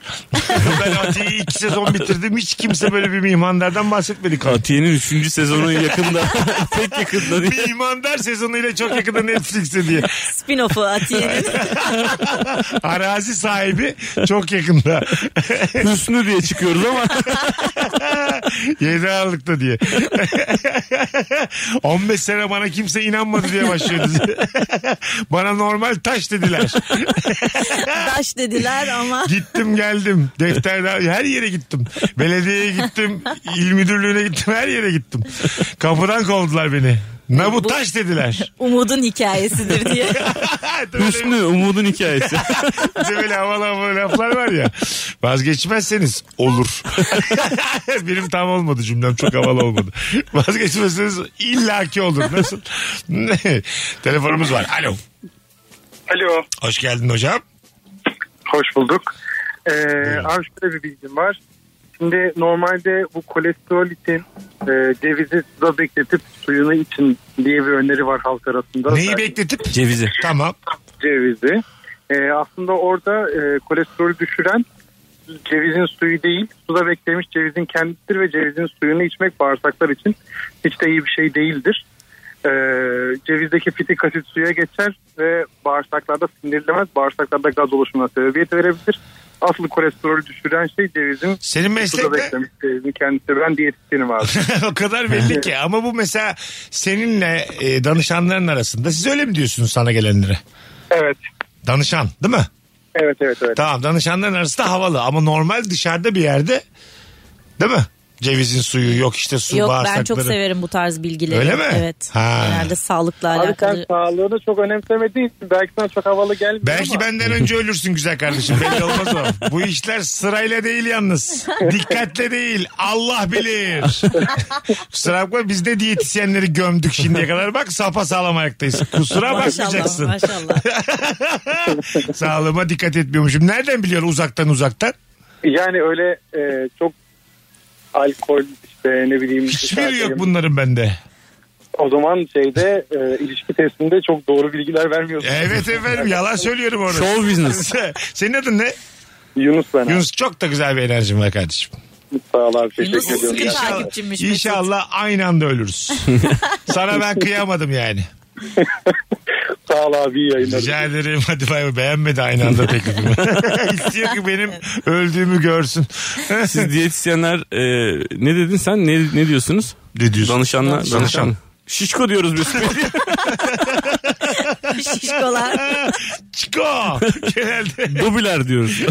Speaker 3: ben Atiye'yi iki sezon bitirdim. Hiç kimse böyle bir mimandardan bahsetmedi. kanka.
Speaker 5: Atiye'nin 3. sezonu yakında. (laughs) pek yakında diye.
Speaker 3: Mimandar sezonuyla çok yakında Netflix'te diye.
Speaker 4: Spin-off'u Atiye'nin.
Speaker 3: Arazi sahibi çok yakında.
Speaker 5: Hüsnü diye çıkıyoruz
Speaker 3: (laughs)
Speaker 5: ama.
Speaker 3: 7 Aralık'ta diye. (laughs) 15 sene bana kimse inanmadı diye başlıyor dizi. (laughs) bana normal taş dediler.
Speaker 4: Daş dediler ama.
Speaker 3: Gittim geldim. Defterde her yere gittim. Belediyeye gittim. il müdürlüğüne gittim. Her yere gittim. Kapıdan kovdular beni. Ne bu taş
Speaker 4: (laughs)
Speaker 3: dediler.
Speaker 4: Umudun hikayesidir
Speaker 3: (laughs)
Speaker 4: diye.
Speaker 5: Hüsnü Umud'un hikayesi.
Speaker 3: Bir de böyle havalı havalı laflar var ya. Vazgeçmezseniz olur. (laughs) Benim tam olmadı cümlem çok havalı olmadı. Vazgeçmezseniz illaki olur. Nasıl? Ne? Telefonumuz var. Alo.
Speaker 17: Alo.
Speaker 3: Hoş geldin hocam.
Speaker 17: Hoş bulduk. Ee, abi şöyle bir bilgim var. Şimdi normalde bu kolesterol için e, cevizi suda bekletip suyunu için diye bir öneri var halk arasında.
Speaker 3: Neyi
Speaker 17: Ben-
Speaker 3: bekletip?
Speaker 5: Cevizi.
Speaker 3: Tamam.
Speaker 17: Cevizi. Ee, aslında orada e, kolesterolü düşüren cevizin suyu değil, suda beklemiş cevizin kendisidir ve cevizin suyunu içmek bağırsaklar için hiç de iyi bir şey değildir. Ee, cevizdeki fitik asit suya geçer ve bağırsaklarda sindirilemez, bağırsaklarda gaz oluşumuna sebebiyet verebilir. Asıl kolesterolü düşüren şey cevizin
Speaker 3: Senin meslek
Speaker 17: suda
Speaker 3: ne?
Speaker 17: beklemiş cevizin e, kendisi. Ben diyetisyenim abi.
Speaker 3: (laughs) o kadar belli ki ama bu mesela seninle e, danışanların arasında siz öyle mi diyorsunuz sana gelenlere?
Speaker 17: Evet.
Speaker 3: Danışan değil mi?
Speaker 17: Evet evet evet.
Speaker 3: Tamam danışanların arasında havalı ama normal dışarıda bir yerde değil mi? Cevizin suyu yok işte su
Speaker 4: Yok
Speaker 3: bağırsakları.
Speaker 4: ben çok severim bu tarz bilgileri.
Speaker 3: Öyle mi?
Speaker 4: Evet.
Speaker 3: Ha.
Speaker 4: Genelde sağlıkla
Speaker 17: Abi
Speaker 4: alakalı.
Speaker 17: sen sağlığını çok önemsemediğin için belki sana çok havalı gelmiyor
Speaker 3: Belki
Speaker 17: ama.
Speaker 3: benden önce ölürsün güzel kardeşim belli olmaz o. Bu işler sırayla değil yalnız. Dikkatle değil Allah bilir. Kusura bakma biz de diyetisyenleri gömdük şimdiye kadar. Bak sapa sağlam ayaktayız. Kusura bakmayacaksın.
Speaker 4: Maşallah.
Speaker 3: Sağlığıma dikkat etmiyormuşum. Nereden biliyorsun uzaktan uzaktan?
Speaker 17: Yani öyle e, çok alkol işte ne bileyim.
Speaker 3: Hiçbiri yok bunların bende.
Speaker 17: O zaman şeyde e, ilişki testinde çok doğru bilgiler vermiyorsun.
Speaker 3: Evet efendim yalan söylüyorum orada.
Speaker 17: Show business.
Speaker 3: (laughs) Senin adın ne?
Speaker 17: Yunus ben.
Speaker 3: Yunus çok da güzel bir enerjin var kardeşim.
Speaker 17: Sağ ol abi
Speaker 3: Yunus
Speaker 17: teşekkür ediyorum.
Speaker 3: İnşallah, inşallah aynı
Speaker 17: (laughs)
Speaker 3: anda ölürüz. Sana ben kıyamadım yani.
Speaker 17: Sağ ol abi iyi yayınlar.
Speaker 3: Rica ederim. Hadi bay bay. Beğenmedi aynı
Speaker 17: (laughs)
Speaker 3: anda teklifimi. İstiyor ki benim öldüğümü görsün.
Speaker 5: Siz diyetisyenler e, ne dedin sen? Ne, ne diyorsunuz?
Speaker 3: Ne diyorsun?
Speaker 5: Danışanlar.
Speaker 3: Danışan.
Speaker 5: Danışan. Şişko diyoruz (laughs) biz.
Speaker 3: (laughs)
Speaker 4: Şişkolar.
Speaker 3: Çiko. Genelde.
Speaker 5: Dubiler diyoruz.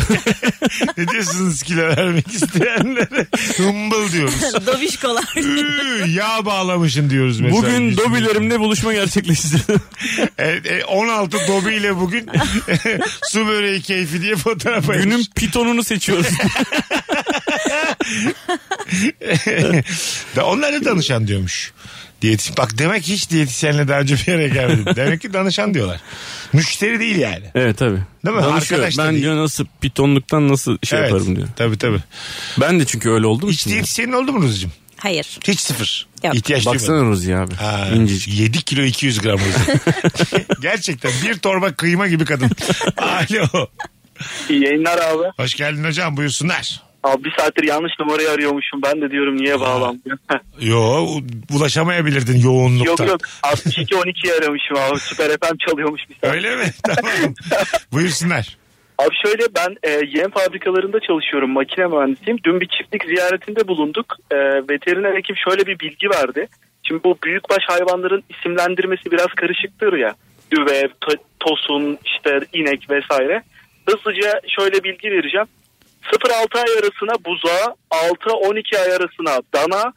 Speaker 3: (laughs) ne diyorsunuz kilo vermek isteyenlere? Humble diyoruz.
Speaker 4: Dovişkolar.
Speaker 3: Üü, Yağ bağlamışın diyoruz (laughs) mesela.
Speaker 5: Bugün
Speaker 3: Yüzüne.
Speaker 5: dobilerimle buluşma gerçekleşti.
Speaker 3: (laughs) Evet, e, 16 dobi ile
Speaker 17: (laughs)
Speaker 3: bugün (laughs) su böreği keyfi diye fotoğraf ayırmış.
Speaker 5: Günün
Speaker 3: (laughs)
Speaker 5: pitonunu seçiyoruz.
Speaker 3: Da Onlara danışan diyormuş. Diyetisyen. Bak demek hiç diyetisyenle daha önce bir yere gelmedim.
Speaker 5: (laughs)
Speaker 3: Demek ki danışan diyorlar. Müşteri değil yani.
Speaker 5: evet tabii.
Speaker 3: Değil mi?
Speaker 5: Danışıyor.
Speaker 3: Arkadaş da
Speaker 5: Ben
Speaker 3: değil.
Speaker 5: diyor nasıl pitonluktan nasıl şey
Speaker 3: Evet,
Speaker 5: yaparım diyor.
Speaker 3: Tabii tabii.
Speaker 5: Ben de çünkü öyle oldum.
Speaker 3: Hiç diyetisyenin oldu mu Ruzucuğum?
Speaker 4: Hayır.
Speaker 3: Hiç sıfır.
Speaker 4: Yok.
Speaker 3: İhtiyaç
Speaker 5: Baksana
Speaker 3: duymadım.
Speaker 5: Rozi abi.
Speaker 3: Ha, (laughs)
Speaker 5: İncecik.
Speaker 3: 7 kilo 200 gram
Speaker 5: (laughs)
Speaker 3: Ruzi. (laughs) Gerçekten bir torba kıyma gibi kadın. Alo.
Speaker 18: İyi yayınlar abi.
Speaker 3: Hoş geldin hocam buyursunlar.
Speaker 18: Abi bir saattir yanlış numarayı arıyormuşum. Ben de diyorum niye bağlanmıyor.
Speaker 3: Yo ulaşamayabilirdin yoğunlukta.
Speaker 18: yok yok. 62 12'yi aramışım abi. Süper FM çalıyormuş bir saat.
Speaker 3: Öyle mi? (laughs) Tamam. Buyursunlar.
Speaker 18: Abi şöyle ben e, yem fabrikalarında çalışıyorum. Makine mühendisiyim. Dün bir çiftlik ziyaretinde bulunduk. E, veteriner hekim şöyle bir bilgi verdi. Şimdi bu büyükbaş hayvanların isimlendirmesi biraz karışıktır ya. Düve, to- tosun, işte inek vesaire. Hızlıca şöyle bilgi vereceğim. 0-6 ay arasına buzağa, 6-12 ay arasına dana,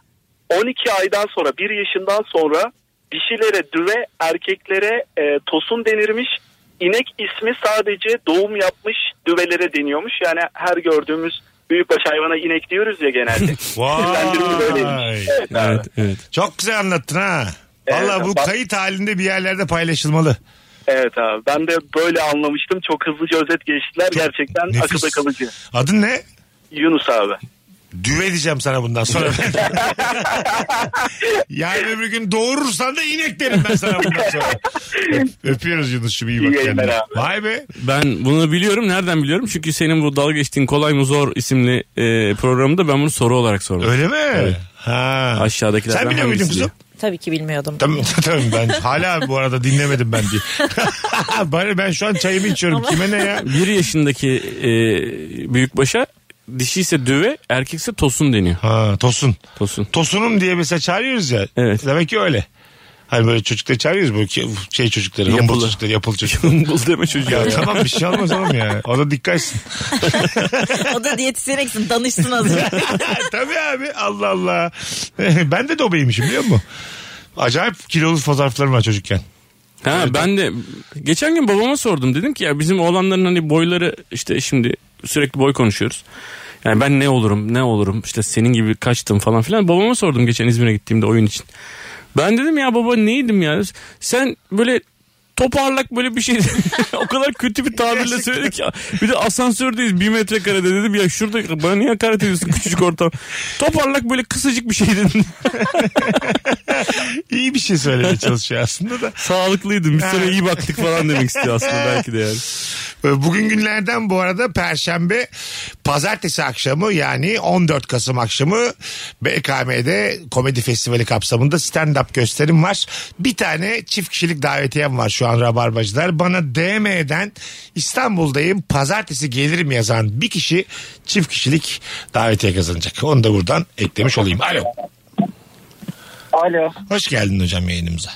Speaker 18: 12 aydan sonra 1 yaşından sonra dişilere düve, erkeklere e, tosun denirmiş. İnek ismi sadece doğum yapmış düvelere deniyormuş. Yani her gördüğümüz büyükbaş hayvana inek diyoruz
Speaker 3: (laughs)
Speaker 18: ya genelde. İsimlendirme
Speaker 3: Vay.
Speaker 18: böyleymiş. Evet abi.
Speaker 3: Çok güzel anlattın ha. Valla
Speaker 18: Evet,
Speaker 3: bu
Speaker 18: bak-
Speaker 3: kayıt halinde bir yerlerde paylaşılmalı.
Speaker 18: Evet abi ben de böyle anlamıştım. Çok hızlıca özet geçtiler. Gerçekten
Speaker 3: nefis.
Speaker 18: akılda kalıcı.
Speaker 3: Adın ne?
Speaker 18: Yunus abi.
Speaker 3: Düve diyeceğim sana bundan
Speaker 18: (laughs)
Speaker 3: sonra. yani öbür gün doğurursan da inek derim ben sana bundan sonra. Öp- Öpüyoruz Yunus'cum iyi bak. kendine. Vay be.
Speaker 5: Ben bunu biliyorum. Nereden biliyorum? Çünkü senin bu dalga geçtiğin kolay mı zor isimli e, programda ben bunu soru olarak sordum.
Speaker 3: Öyle mi? Ha.
Speaker 5: Aşağıdakilerden
Speaker 3: Sen biliyor muydun
Speaker 5: hangisi
Speaker 3: kızım?
Speaker 4: Tabii ki bilmiyordum.
Speaker 3: Tamam tamam ben hala bu arada dinlemedim ben diye. Bari ben şu an çayımı içiyorum. Kime ne ya?
Speaker 5: diye. Bir yaşındaki e, büyükbaşa dişi ise düve, erkekse tosun deniyor.
Speaker 3: Ha, tosun.
Speaker 5: Tosun.
Speaker 3: Tosunum diye mesela çağırıyoruz ya. Evet. Demek ki öyle. Hani böyle çocukları çağırıyoruz bu ki- şey çocukları, yapılı.
Speaker 5: Yapılı.
Speaker 3: çocukları, (laughs) yapılı çocukları.
Speaker 5: Bul deme çocuğa.
Speaker 3: ya tamam bir şey olmaz oğlum ya. O da dikkat (laughs) etsin.
Speaker 4: o da diyetisyen eksin
Speaker 3: (laughs)
Speaker 4: danışsın azıcık.
Speaker 3: Tabii abi Allah Allah. (laughs) ben de dobeymişim biliyor musun? Acayip kilolu fotoğraflarım var çocukken.
Speaker 5: Ha ben de geçen gün babama sordum dedim ki ya bizim oğlanların hani boyları işte şimdi sürekli boy konuşuyoruz. Yani ben ne olurum ne olurum işte senin gibi kaçtım falan filan babama sordum geçen İzmir'e gittiğimde oyun için. Ben dedim ya baba neydim ya sen böyle toparlak böyle bir şey (laughs) o kadar kötü bir tabirle söyledi ki bir de asansördeyiz bir metrekarede dedim ya şurada bana niye hakaret ediyorsun küçücük ortam toparlak böyle kısacık bir şey dedim (laughs)
Speaker 3: İyi bir şey söylemeye çalışıyor aslında da.
Speaker 5: sağlıklıydım bir
Speaker 3: Ha.
Speaker 5: sene iyi baktık falan demek istiyor aslında belki de yani.
Speaker 3: Ee, Bugün günlerden bu arada Perşembe pazartesi akşamı yani 14 Kasım akşamı BKM'de komedi festivali kapsamında stand-up gösterim var. Bir tane çift kişilik davetiyem var şu an Rabarbacılar. Bana DM'den İstanbul'dayım pazartesi gelirim yazan bir kişi çift kişilik davetiye kazanacak. Onu da buradan eklemiş olayım. Alo.
Speaker 19: Alo.
Speaker 3: Hoş geldin hocam yayınımıza.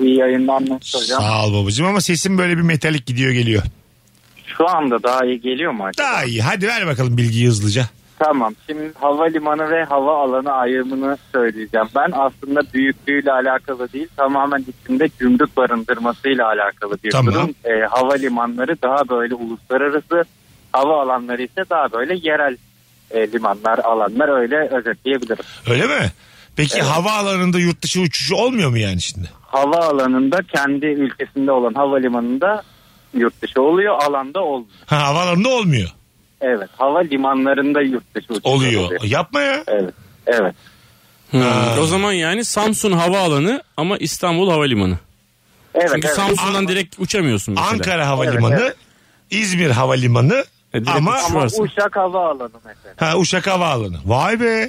Speaker 19: İyi yayınlar nasıl hocam?
Speaker 3: Sağ ol babacığım ama sesin böyle bir metalik gidiyor geliyor.
Speaker 19: Şu anda daha iyi geliyor mu acaba?
Speaker 3: Daha iyi. Hadi ver bakalım bilgiyi hızlıca.
Speaker 19: Tamam. Şimdi havalimanı ve hava alanı ayrımını söyleyeceğim. Ben aslında büyüklüğüyle alakalı değil tamamen içinde gümrük barındırmasıyla alakalı bir
Speaker 3: Tamam.
Speaker 19: durum. Ee, havalimanları daha böyle uluslararası hava alanları ise daha böyle yerel e, limanlar alanlar öyle özetleyebilirim.
Speaker 3: Öyle mi? Peki havaalanında yurt dışı uçuşu olmuyor mu yani şimdi?
Speaker 19: Hava alanında kendi ülkesinde olan havalimanında yurt dışı oluyor alanda olmuyor.
Speaker 3: Ha, havaalanında olmuyor.
Speaker 19: Evet hava limanlarında yurt dışı uçuşlar
Speaker 3: Oluyor. Yapma ya.
Speaker 19: Evet.
Speaker 15: Evet.
Speaker 5: Hmm. O zaman yani Samsun Havaalanı ama İstanbul Havalimanı.
Speaker 3: Evet,
Speaker 5: Çünkü
Speaker 3: evet.
Speaker 5: Samsun'dan direkt uçamıyorsun mesela.
Speaker 3: Ankara Havalimanı, İzmir Havalimanı ama,
Speaker 5: E, uçuş varsın.
Speaker 19: Uşak Havaalanı mesela.
Speaker 3: ha, Uşak Havaalanı. Vay be.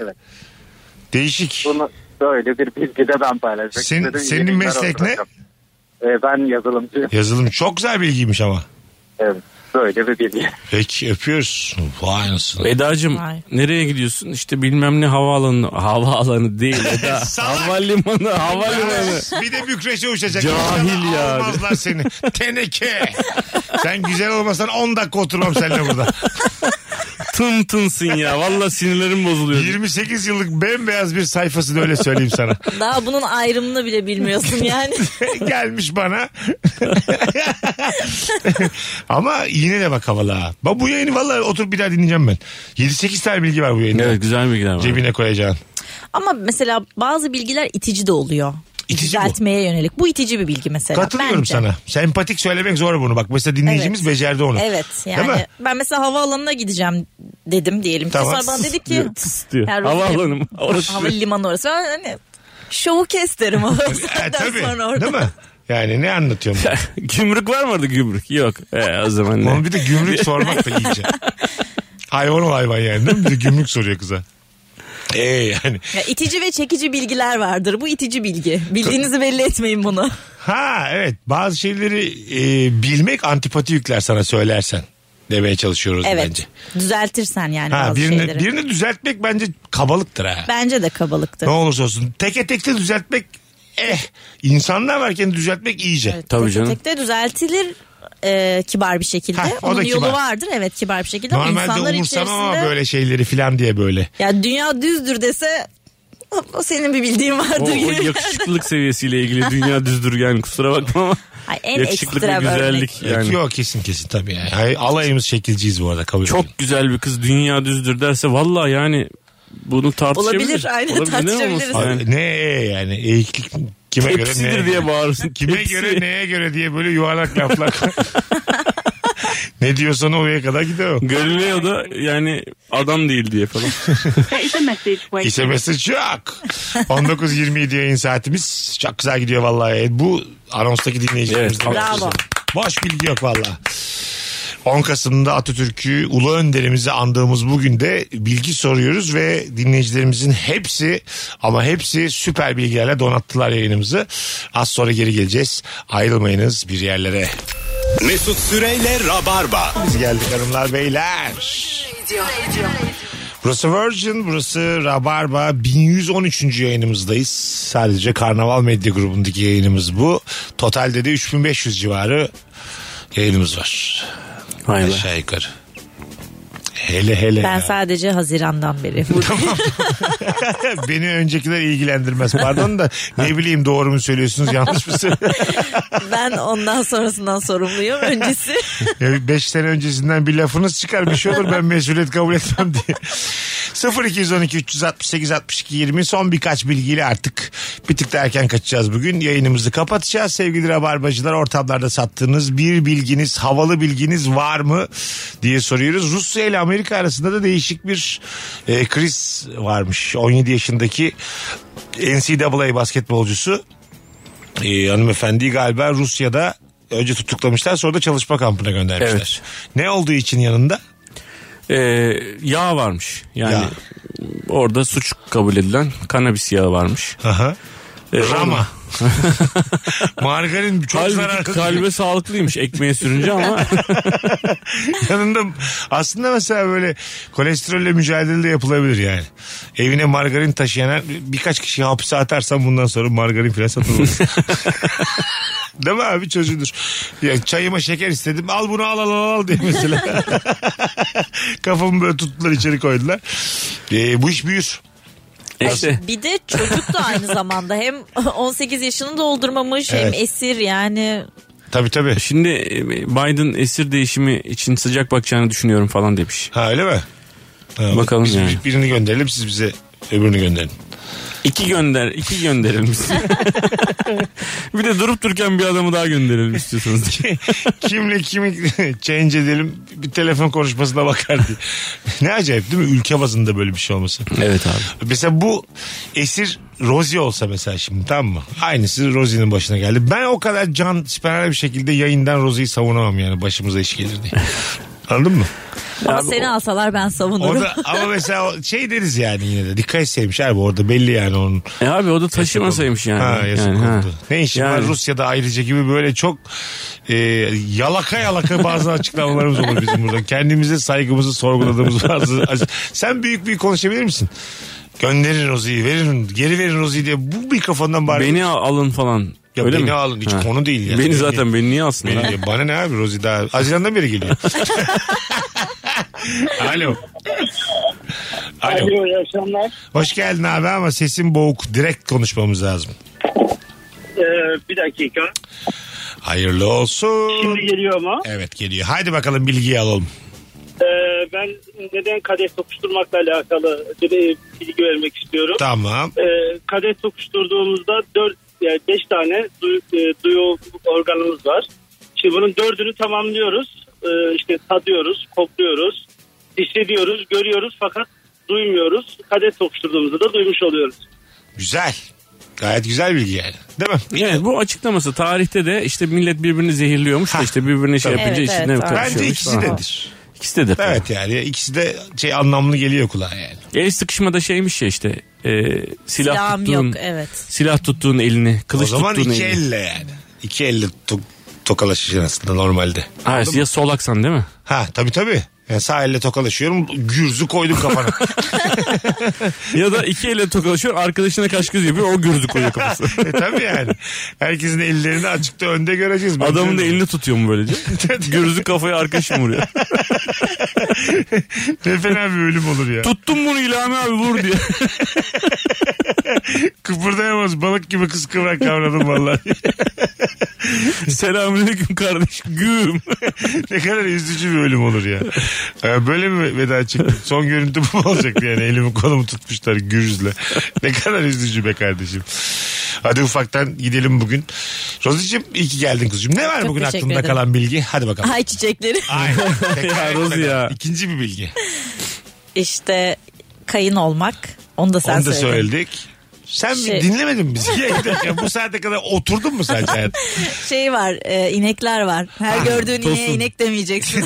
Speaker 3: Değişik.
Speaker 19: Bunu böyle bir bilgi de ben paylaşmak
Speaker 3: Senin-
Speaker 19: istedim.
Speaker 3: senin
Speaker 19: Yeni
Speaker 3: meslek ne?
Speaker 19: Karar olacak. Ee, ben yazılımcıyım.
Speaker 3: Yazılım çok güzel bilgiymiş ama.
Speaker 19: Evet. Böyle bir bilgi.
Speaker 3: Peki öpüyoruz. Vay nasıl.
Speaker 5: Eda'cığım nereye gidiyorsun? İşte bilmem ne havaalanı.
Speaker 3: (laughs)
Speaker 5: Havaalanı değil Eda. havalimanı, havalimanı.
Speaker 3: Bir de Bükreş'e uçacak.
Speaker 5: Cahil
Speaker 3: İnşallah
Speaker 5: ya.
Speaker 3: Almazlar seni. Teneke. Sen güzel olmasan 10 dakika oturmam seninle burada.
Speaker 5: Tın tınsın ya. Valla sinirlerim bozuluyor.
Speaker 3: 28 yıllık bembeyaz bir sayfasını öyle söyleyeyim
Speaker 4: (laughs)
Speaker 3: sana.
Speaker 4: Daha bunun ayrımını bile bilmiyorsun yani.
Speaker 3: Gelmiş bana. (laughs) Ama yine de bak havalı ha. Bak bu yayını valla oturup bir daha dinleyeceğim ben. 7-8 tane bilgi var bu yayında.
Speaker 5: Evet güzel bilgiler var.
Speaker 3: Cebine koyacaksın.
Speaker 4: Ama mesela bazı bilgiler itici de oluyor. İtici Düzeltmeye yönelik. Bu itici bir bilgi mesela.
Speaker 3: Katılıyorum
Speaker 4: bence.
Speaker 3: sana. Sempatik söylemek zor bunu. Bak mesela dinleyicimiz becerdi onu.
Speaker 4: Evet
Speaker 3: Değil
Speaker 4: yani
Speaker 3: mi?
Speaker 4: ben mesela havaalanına gideceğim dedim diyelim.
Speaker 3: Tamam.
Speaker 4: Sonra bana dedi ki
Speaker 3: Diyor, tıs diyor.
Speaker 4: "Ya Rus-
Speaker 3: Havaalanı
Speaker 4: (laughs)
Speaker 3: mı? Orası mı?"
Speaker 4: Havalimanı orası. Ben hani şovu kes derim o
Speaker 3: (laughs) E, tabii.
Speaker 4: sonra orada.
Speaker 3: Değil mi? Yani ne anlatıyorum?
Speaker 5: (laughs) gümrük var mı orada gümrük? Yok. E, o zaman ne?
Speaker 3: Oğlum bir de gümrük sormak da
Speaker 4: (laughs)
Speaker 3: iyice. Hayvan ol hayvan yani değil mi? Bir de gümrük soruyor kıza. Ee yani.
Speaker 4: Ya itici ve çekici bilgiler vardır. Bu itici bilgi. Bildiğinizi belli etmeyin bunu.
Speaker 3: Ha evet bazı şeyleri e, bilmek antipati yükler sana söylersen demeye çalışıyoruz
Speaker 4: evet.
Speaker 3: bence.
Speaker 4: Düzeltirsen yani
Speaker 3: ha,
Speaker 4: bazı
Speaker 3: birini,
Speaker 4: şeyleri.
Speaker 3: birini düzeltmek bence kabalıktır ha.
Speaker 4: Bence de kabalıktır.
Speaker 3: Ne olursa olsun. Teke tekte düzeltmek eh. insanlar varken düzeltmek iyice.
Speaker 5: Tabii
Speaker 4: Tek de düzeltilir e, kibar bir şekilde.
Speaker 3: Heh, o da
Speaker 4: Onun yolu
Speaker 3: kibar.
Speaker 4: vardır evet kibar bir şekilde. ama
Speaker 3: Normalde
Speaker 4: insanlar
Speaker 3: umursamam ama
Speaker 4: içerisinde
Speaker 3: böyle şeyleri filan diye böyle.
Speaker 4: ya dünya düzdür dese o senin bir bildiğin
Speaker 5: O,
Speaker 4: vardır
Speaker 5: o
Speaker 4: gibi.
Speaker 5: yakışıklılık seviyesiyle ilgili dünya düzdür yani kusura bakma ama.
Speaker 4: Ay, en
Speaker 5: yakışıklık ve
Speaker 4: ekstrem
Speaker 5: güzellik
Speaker 3: örnek.
Speaker 5: yani.
Speaker 3: Yok kesin kesin tabii yani. Hayır, alayımız şekilciyiz bu arada kabul
Speaker 5: Çok güzel bir kız dünya düzdür derse valla yani bunu tartışabilir.
Speaker 4: Olabilir, aynen,
Speaker 5: Olabilir, neden
Speaker 4: tartışabiliriz.
Speaker 5: olmasın yani?
Speaker 3: Abi Ne yani eğiklik kime
Speaker 5: Tepsidir
Speaker 3: göre neye
Speaker 5: diye
Speaker 3: göre?
Speaker 5: bağırırsın.
Speaker 3: Kime
Speaker 5: Tepsi.
Speaker 3: göre neye göre diye böyle yuvarlak laflar. ne diyorsan oraya kadar gider o.
Speaker 5: Galileo da yani adam değil diye falan.
Speaker 3: İşte mesaj çok. 19.27 yayın saatimiz. Çok güzel gidiyor vallahi. E, Bu anonstaki dinleyicilerimiz.
Speaker 5: Evet, bravo.
Speaker 3: Boş bilgi yok vallahi. 10 Kasım'da Atatürk'ü Ulu Önderimizi andığımız bugün de bilgi soruyoruz ve dinleyicilerimizin hepsi ama hepsi süper bilgilerle donattılar yayınımızı. Az sonra geri geleceğiz. Ayrılmayınız bir yerlere.
Speaker 2: Mesut Süreyle Rabarba.
Speaker 3: Biz geldik hanımlar beyler. Burası Virgin, burası Rabarba. 1113. yayınımızdayız. Sadece Karnaval Medya grubundaki yayınımız bu. Totalde de 3500 civarı yayınımız var.
Speaker 5: (laughs) Vay be.
Speaker 3: Aşağı yukarı. Hele hele.
Speaker 4: Ben
Speaker 3: ya.
Speaker 4: sadece Haziran'dan beri.
Speaker 3: (laughs) Beni öncekiler ilgilendirmez. Pardon da ne bileyim doğru mu söylüyorsunuz yanlış mı söylüyorsunuz?
Speaker 4: ben ondan sonrasından sorumluyum.
Speaker 3: (laughs)
Speaker 4: Öncesi
Speaker 3: 5 sene öncesinden bir lafınız çıkar bir şey olur ben mesuliyet kabul etmem diye. 0212 368 62 20 son birkaç bilgiyle artık bir tık da erken kaçacağız bugün. Yayınımızı kapatacağız. Sevgili Rabarbacılar ortamlarda sattığınız bir bilginiz, havalı bilginiz var mı diye soruyoruz. Rusya ile Amerika arasında da değişik bir e, kriz varmış. 17 yaşındaki NCAA basketbolcusu e, hanımefendi galiba Rusya'da önce tutuklamışlar sonra da çalışma kampına göndermişler. Ne olduğu için yanında?
Speaker 5: Ee, yağ varmış. Yani
Speaker 3: Yağ.
Speaker 5: orada suç kabul edilen kanabis yağı varmış.
Speaker 3: Aha.
Speaker 5: Ee,
Speaker 3: Rama. (laughs) Margarin çok
Speaker 5: Halbuki
Speaker 3: zararlı.
Speaker 5: kalbe sağlıklıymış ekmeğe
Speaker 3: (laughs)
Speaker 5: sürünce ama
Speaker 3: yanında aslında mesela böyle kolesterolle mücadele de yapılabilir yani. Evine margarin taşıyana birkaç kişi hapse atarsan bundan sonra margarin filan
Speaker 5: (laughs)
Speaker 3: satılmaz. Değil mi abi çocuğudur. Ya çayıma şeker istedim. Al bunu al al al al diye mesela. (laughs) Kafamı böyle tuttular içeri koydular. Ee, bu iş büyür.
Speaker 5: işte
Speaker 4: bir de çocuk da aynı zamanda hem 18 yaşını doldurmamış hem
Speaker 5: Evet.
Speaker 4: esir yani.
Speaker 3: Tabii tabii.
Speaker 5: Şimdi e, Biden esir değişimi için sıcak bakacağını düşünüyorum falan demiş.
Speaker 3: Ha öyle mi? Ha,
Speaker 5: Bakalım
Speaker 3: biz
Speaker 5: yani.
Speaker 3: birini gönderelim siz bize öbürünü gönderin.
Speaker 5: İki gönder,
Speaker 3: (laughs)
Speaker 5: iki gönderilmiş. bir de durup dururken bir adamı daha gönderelim istiyorsanız.
Speaker 3: Kimle kimi (laughs) change edelim bir telefon konuşmasına bakar diye. ne acayip değil mi? Ülke bazında böyle bir şey olması.
Speaker 5: (laughs) Evet abi.
Speaker 3: Mesela bu esir Rosie olsa mesela şimdi tamam mı? Aynısı Rosie'nin başına geldi. Ben o kadar can siperhane bir şekilde yayından Rosie'yi savunamam yani başımıza iş gelir diye. Anladın mı?
Speaker 4: Ama
Speaker 3: Abi
Speaker 4: seni alsalar ben savunurum.
Speaker 3: Orada, ama mesela o- şey deriz yani yine de dikkat etseymiş abi orada belli yani onun.
Speaker 5: E abi o da taşımasaymış yani.
Speaker 3: Ha, yazık
Speaker 5: Yani, ha.
Speaker 3: oldu. Ne işin var
Speaker 5: Yani.
Speaker 3: Rusya'da ayrıca gibi böyle çok e, yalaka yalaka
Speaker 5: (laughs)
Speaker 3: bazı açıklamalarımız olur bizim burada. Kendimize saygımızı sorguladığımız
Speaker 5: (laughs)
Speaker 3: bazı. Sen büyük büyük konuşabilir misin? Gönderin Rozi'yi verin geri verin Rozi'yi diye bu mikrofondan bari.
Speaker 5: Beni al- alın falan.
Speaker 3: Ya
Speaker 5: Öyle
Speaker 3: beni
Speaker 5: mi?
Speaker 3: alın hiç
Speaker 5: Ha.
Speaker 3: konu değil yani.
Speaker 5: Beni zaten beni niye alsın?
Speaker 3: (laughs) Beni diye. Bana ne abi Rozi daha Haziran'dan beri
Speaker 5: (laughs)
Speaker 3: geliyor. Alo. Alo.
Speaker 18: Alo iyi akşamlar.
Speaker 3: Hoş geldin abi ama sesin boğuk. Direkt konuşmamız lazım.
Speaker 18: Ee, bir dakika.
Speaker 3: Hayırlı olsun.
Speaker 18: Şimdi geliyor ama.
Speaker 3: Evet geliyor. Haydi bakalım bilgiyi alalım.
Speaker 18: Ee, ben neden kadeh sokuşturmakla alakalı bir bilgi vermek istiyorum.
Speaker 3: Tamam.
Speaker 18: Ee, kadeh sokuşturduğumuzda 4 yani 5 tane duyu, e, duyu organımız var. Şimdi bunun dördünü tamamlıyoruz. Ee, işte tadıyoruz, kokluyoruz, hissediyoruz, görüyoruz fakat duymuyoruz. Kadeh sokuşturduğumuzda da duymuş oluyoruz.
Speaker 3: Güzel. Gayet güzel bilgi yani. Değil mi?
Speaker 5: Evet bu açıklaması tarihte de işte millet birbirini zehirliyormuş da işte birbirini şey
Speaker 3: Tabii.
Speaker 5: yapınca
Speaker 3: Evet,
Speaker 5: içine
Speaker 3: evet,
Speaker 5: karışıyormuş.
Speaker 3: Bence ikisi
Speaker 5: falan.
Speaker 3: dedir.
Speaker 5: İkisi dedir.
Speaker 3: Evet yani ikisi de şey anlamlı geliyor kulağa yani.
Speaker 5: El sıkışmada şeymiş ya işte e, silah
Speaker 4: Silahım
Speaker 5: tuttuğun,
Speaker 4: yok, evet.
Speaker 5: silah tuttuğun elini, kılıç
Speaker 3: o zaman
Speaker 5: tuttuğun
Speaker 3: iki
Speaker 5: elini.
Speaker 3: elle yani. İki elle to- tokalaşacaksın aslında normalde.
Speaker 5: Ha, ya solaksan değil mi?
Speaker 3: Ha tabii tabii. Yani sağ elle tokalaşıyorum. Gürzü koydum
Speaker 5: (laughs)
Speaker 3: kafana.
Speaker 5: ya da iki elle tokalaşıyor arkadaşına kaş göz yapıyor o gürdü koyuyor (laughs) kafasına.
Speaker 3: e tabii yani. Herkesin ellerini açıkta önde göreceğiz.
Speaker 5: Adamın da elini tutuyor mu (laughs) böylece? Gürzü kafaya arkadaşım vuruyor.
Speaker 3: ne fena bir ölüm olur ya.
Speaker 5: Tuttum bunu İlhami abi vur (laughs) diye.
Speaker 3: Kıpırdayamaz balık gibi kız kıvrak kavradım vallahi.
Speaker 5: Selamünaleyküm kardeş güm.
Speaker 3: (laughs) ne kadar üzücü bir ölüm olur ya. Ee, Böyle mi veda çıktı? Son görüntü bu olacaktı yani elimi kolumu tutmuşlar gürüzle. Ne kadar üzücü be kardeşim. Hadi ufaktan gidelim bugün. Rozi'cim iyi ki geldin kuzucuğum. Ne var
Speaker 4: Çok
Speaker 3: bugün
Speaker 4: teşekkür
Speaker 3: aklında
Speaker 4: ederim.
Speaker 3: kalan bilgi? Hadi bakalım.
Speaker 4: Ay çiçekleri. (laughs)
Speaker 3: Aynen.
Speaker 5: Ya
Speaker 3: Tekrar
Speaker 5: Rozi
Speaker 3: etmeden.
Speaker 5: ya.
Speaker 3: İkinci bir bilgi.
Speaker 4: İşte kayın olmak. Onu da sen
Speaker 3: Onu da
Speaker 4: söyledin.
Speaker 3: söyledik. Sen mi-
Speaker 4: Şey-
Speaker 3: dinlemedin mi
Speaker 4: (laughs)
Speaker 3: bizi? Ya, bir dakika, bu saate kadar oturdun mu sen hayatım?
Speaker 4: Şey var e, inekler var. Her gördüğün ineğe
Speaker 3: Ah, tosun. (laughs)
Speaker 4: inek demeyeceksin.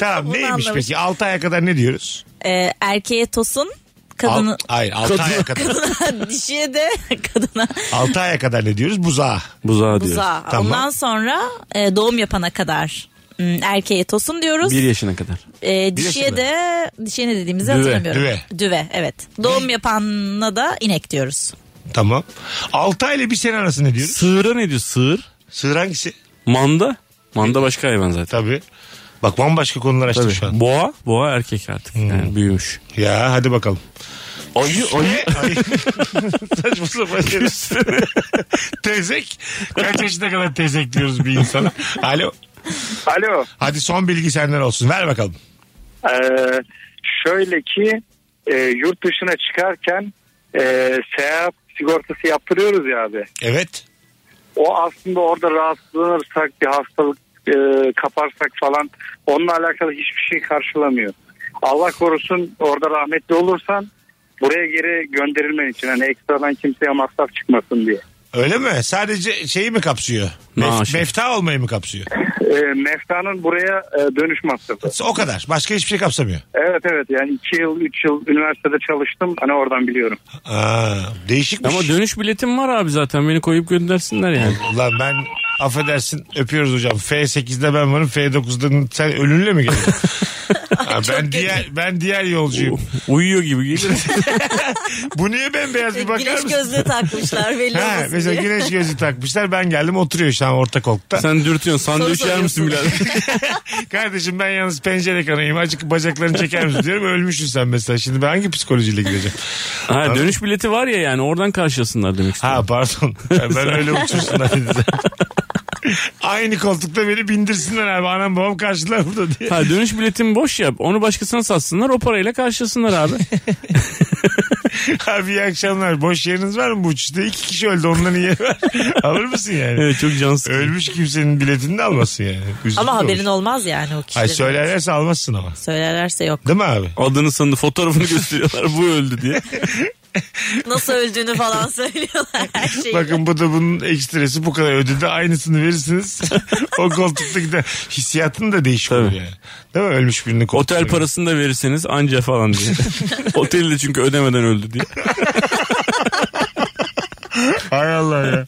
Speaker 3: tamam
Speaker 4: Onu
Speaker 3: neymiş
Speaker 4: anlamış.
Speaker 3: peki? 6 aya kadar ne diyoruz?
Speaker 4: E, erkeğe tosun kadını...
Speaker 3: Al- hayır 6 aya kadar.
Speaker 4: kadına (laughs) dişiye de kadına
Speaker 3: 6 aya kadar ne diyoruz? Buzağa.
Speaker 5: Buzağa
Speaker 4: buzağa. Ondan sonra e, doğum yapana kadar hmm, erkeğe tosun diyoruz.
Speaker 5: Bir yaşına kadar. Bir
Speaker 4: E, dişiye
Speaker 5: yaşında.
Speaker 4: de dişiye ne dediğimizi
Speaker 5: Düve,
Speaker 4: hatırlamıyorum.
Speaker 3: düve.
Speaker 4: Düve evet. Doğum yapanına da inek diyoruz.
Speaker 3: Tamam. 6 ay ile 1 sene arası ne diyoruz?
Speaker 5: Sığıra ne diyor sığır?
Speaker 3: Sığır hangisi?
Speaker 5: Manda. Manda başka hayvan zaten.
Speaker 3: Tabii. Bak bambaşka konular açtık
Speaker 5: Tabii.
Speaker 3: şu an.
Speaker 5: Boğa, boğa erkek artık. Yani büyümüş.
Speaker 3: Ya hadi (laughs) bakalım.
Speaker 5: Ayı, ayı.
Speaker 3: Saçma sapan şeyler. (laughs) tezek. Kaç yaşına kadar tezek diyoruz bir insana. Alo.
Speaker 17: Alo.
Speaker 3: Hadi son bilgi senden olsun. Ver bakalım.
Speaker 17: Ee, şöyle ki e, yurt dışına çıkarken e, seyahat sigortası yaptırıyoruz ya abi.
Speaker 3: Evet.
Speaker 17: O aslında orada rahatsızlanırsak bir hastalık e, kaparsak falan onunla alakalı hiçbir şey karşılamıyor. Allah korusun orada rahmetli olursan buraya geri gönderilmen için hani ekstradan kimseye masraf çıkmasın diye.
Speaker 3: Öyle mi? Sadece şeyi mi kapsıyor? Mef-
Speaker 17: Maaşı.
Speaker 3: mefta olmayı mı kapsıyor?
Speaker 17: E, Mefta'nın buraya e, dönüş masrafı.
Speaker 3: O kadar. Başka hiçbir şey kapsamıyor.
Speaker 17: Evet evet yani 2 yıl 3 yıl üniversitede çalıştım hani oradan biliyorum.
Speaker 3: Aa, değişikmiş.
Speaker 5: Ama dönüş biletim var abi zaten. Beni koyup göndersinler yani.
Speaker 3: Ulan ben affedersin öpüyoruz hocam. F8'de ben varım. F9'da sen ölünle mi
Speaker 4: (laughs)
Speaker 3: geliyorsun? Ha, ben diğer ben diğer yolcuyum.
Speaker 5: (laughs) Uyuyor gibi gelir.
Speaker 3: Bu niye bembeyaz bir bakar
Speaker 4: Güneş
Speaker 3: mısın?
Speaker 4: gözlüğü takmışlar
Speaker 3: (laughs)
Speaker 4: belli
Speaker 3: Ha,
Speaker 4: olmasın
Speaker 3: mesela
Speaker 4: diye.
Speaker 3: güneş gözlüğü takmışlar. Ben geldim oturuyor şu an orta koltukta.
Speaker 5: Sen dürtüyorsun. Sandviç yer misin birader? (laughs)
Speaker 3: Kardeşim ben yalnız pencere kanayım. Acık bacaklarını çeker misin diyorum. Ölmüşsün sen mesela. Şimdi ben hangi psikolojiyle gideceğim?
Speaker 5: Ha, dönüş bileti var ya yani oradan karşılasınlar demek istiyorum.
Speaker 3: Ha pardon. Ben, ben öyle uçursunlar dedi
Speaker 4: (laughs)
Speaker 3: zaten. Aynı koltukta beni bindirsinler abi. Anam babam karşılar burada diye.
Speaker 5: Ha dönüş biletim boş ya. Onu başkasına satsınlar o parayla karşılasınlar abi.
Speaker 3: (laughs) Abi iyi akşamlar. Boş yeriniz var mı bu uçuşta? İki kişi öldü onların yeri var. (laughs) Alır mısın yani?
Speaker 5: Evet çok cansız.
Speaker 3: Ölmüş kimsenin biletini de almasın yani. Üzücü
Speaker 4: Ama
Speaker 3: olur.
Speaker 4: haberin olmaz yani o kişilerin.
Speaker 3: Ay söylerlerse almazsın ama. (laughs)
Speaker 4: Söylerlerse yok.
Speaker 3: Değil mi abi?
Speaker 5: Adını sanını fotoğrafını gösteriyorlar bu öldü diye.
Speaker 4: Nasıl öldüğünü falan (laughs) söylüyorlar her şeyi.
Speaker 3: Bakın bu da bunun ekstresi bu kadar ödedi. Aynısını verirsiniz. (laughs) o koltukta gider. Hissiyatın da değişik olur yani. Değil mi? Ölmüş birini koltukta.
Speaker 5: Otel parasını da verirseniz anca falan diye. Oteli de çünkü ödemeden öldü diye.
Speaker 3: Hay Allah ya.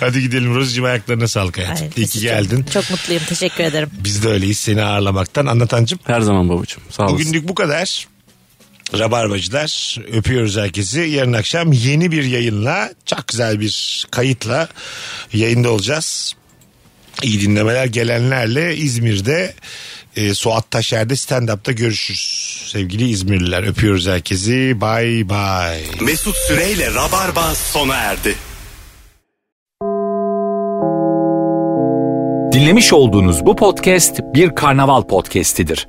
Speaker 3: Hadi gidelim Rozucuğum ayaklarına sağlık hayatım. İyi ki geldin.
Speaker 4: Çok mutluyum teşekkür ederim.
Speaker 3: Biz de öyleyiz seni ağırlamaktan. Anlatancım.
Speaker 5: Her zaman babacığım. Sağ olasın.
Speaker 3: Bugünlük bu kadar. Rabarbacılar öpüyoruz herkesi. Yarın akşam yeni bir yayınla çok güzel bir kayıtla yayında olacağız. İyi dinlemeler gelenlerle İzmir'de e, Suat Taşer'de stand-up'ta görüşürüz. Sevgili İzmirliler öpüyoruz herkesi. Bay bay.
Speaker 2: Mesut Süreyle Rabarba sona erdi.
Speaker 1: Dinlemiş olduğunuz bu podcast bir karnaval podcastidir.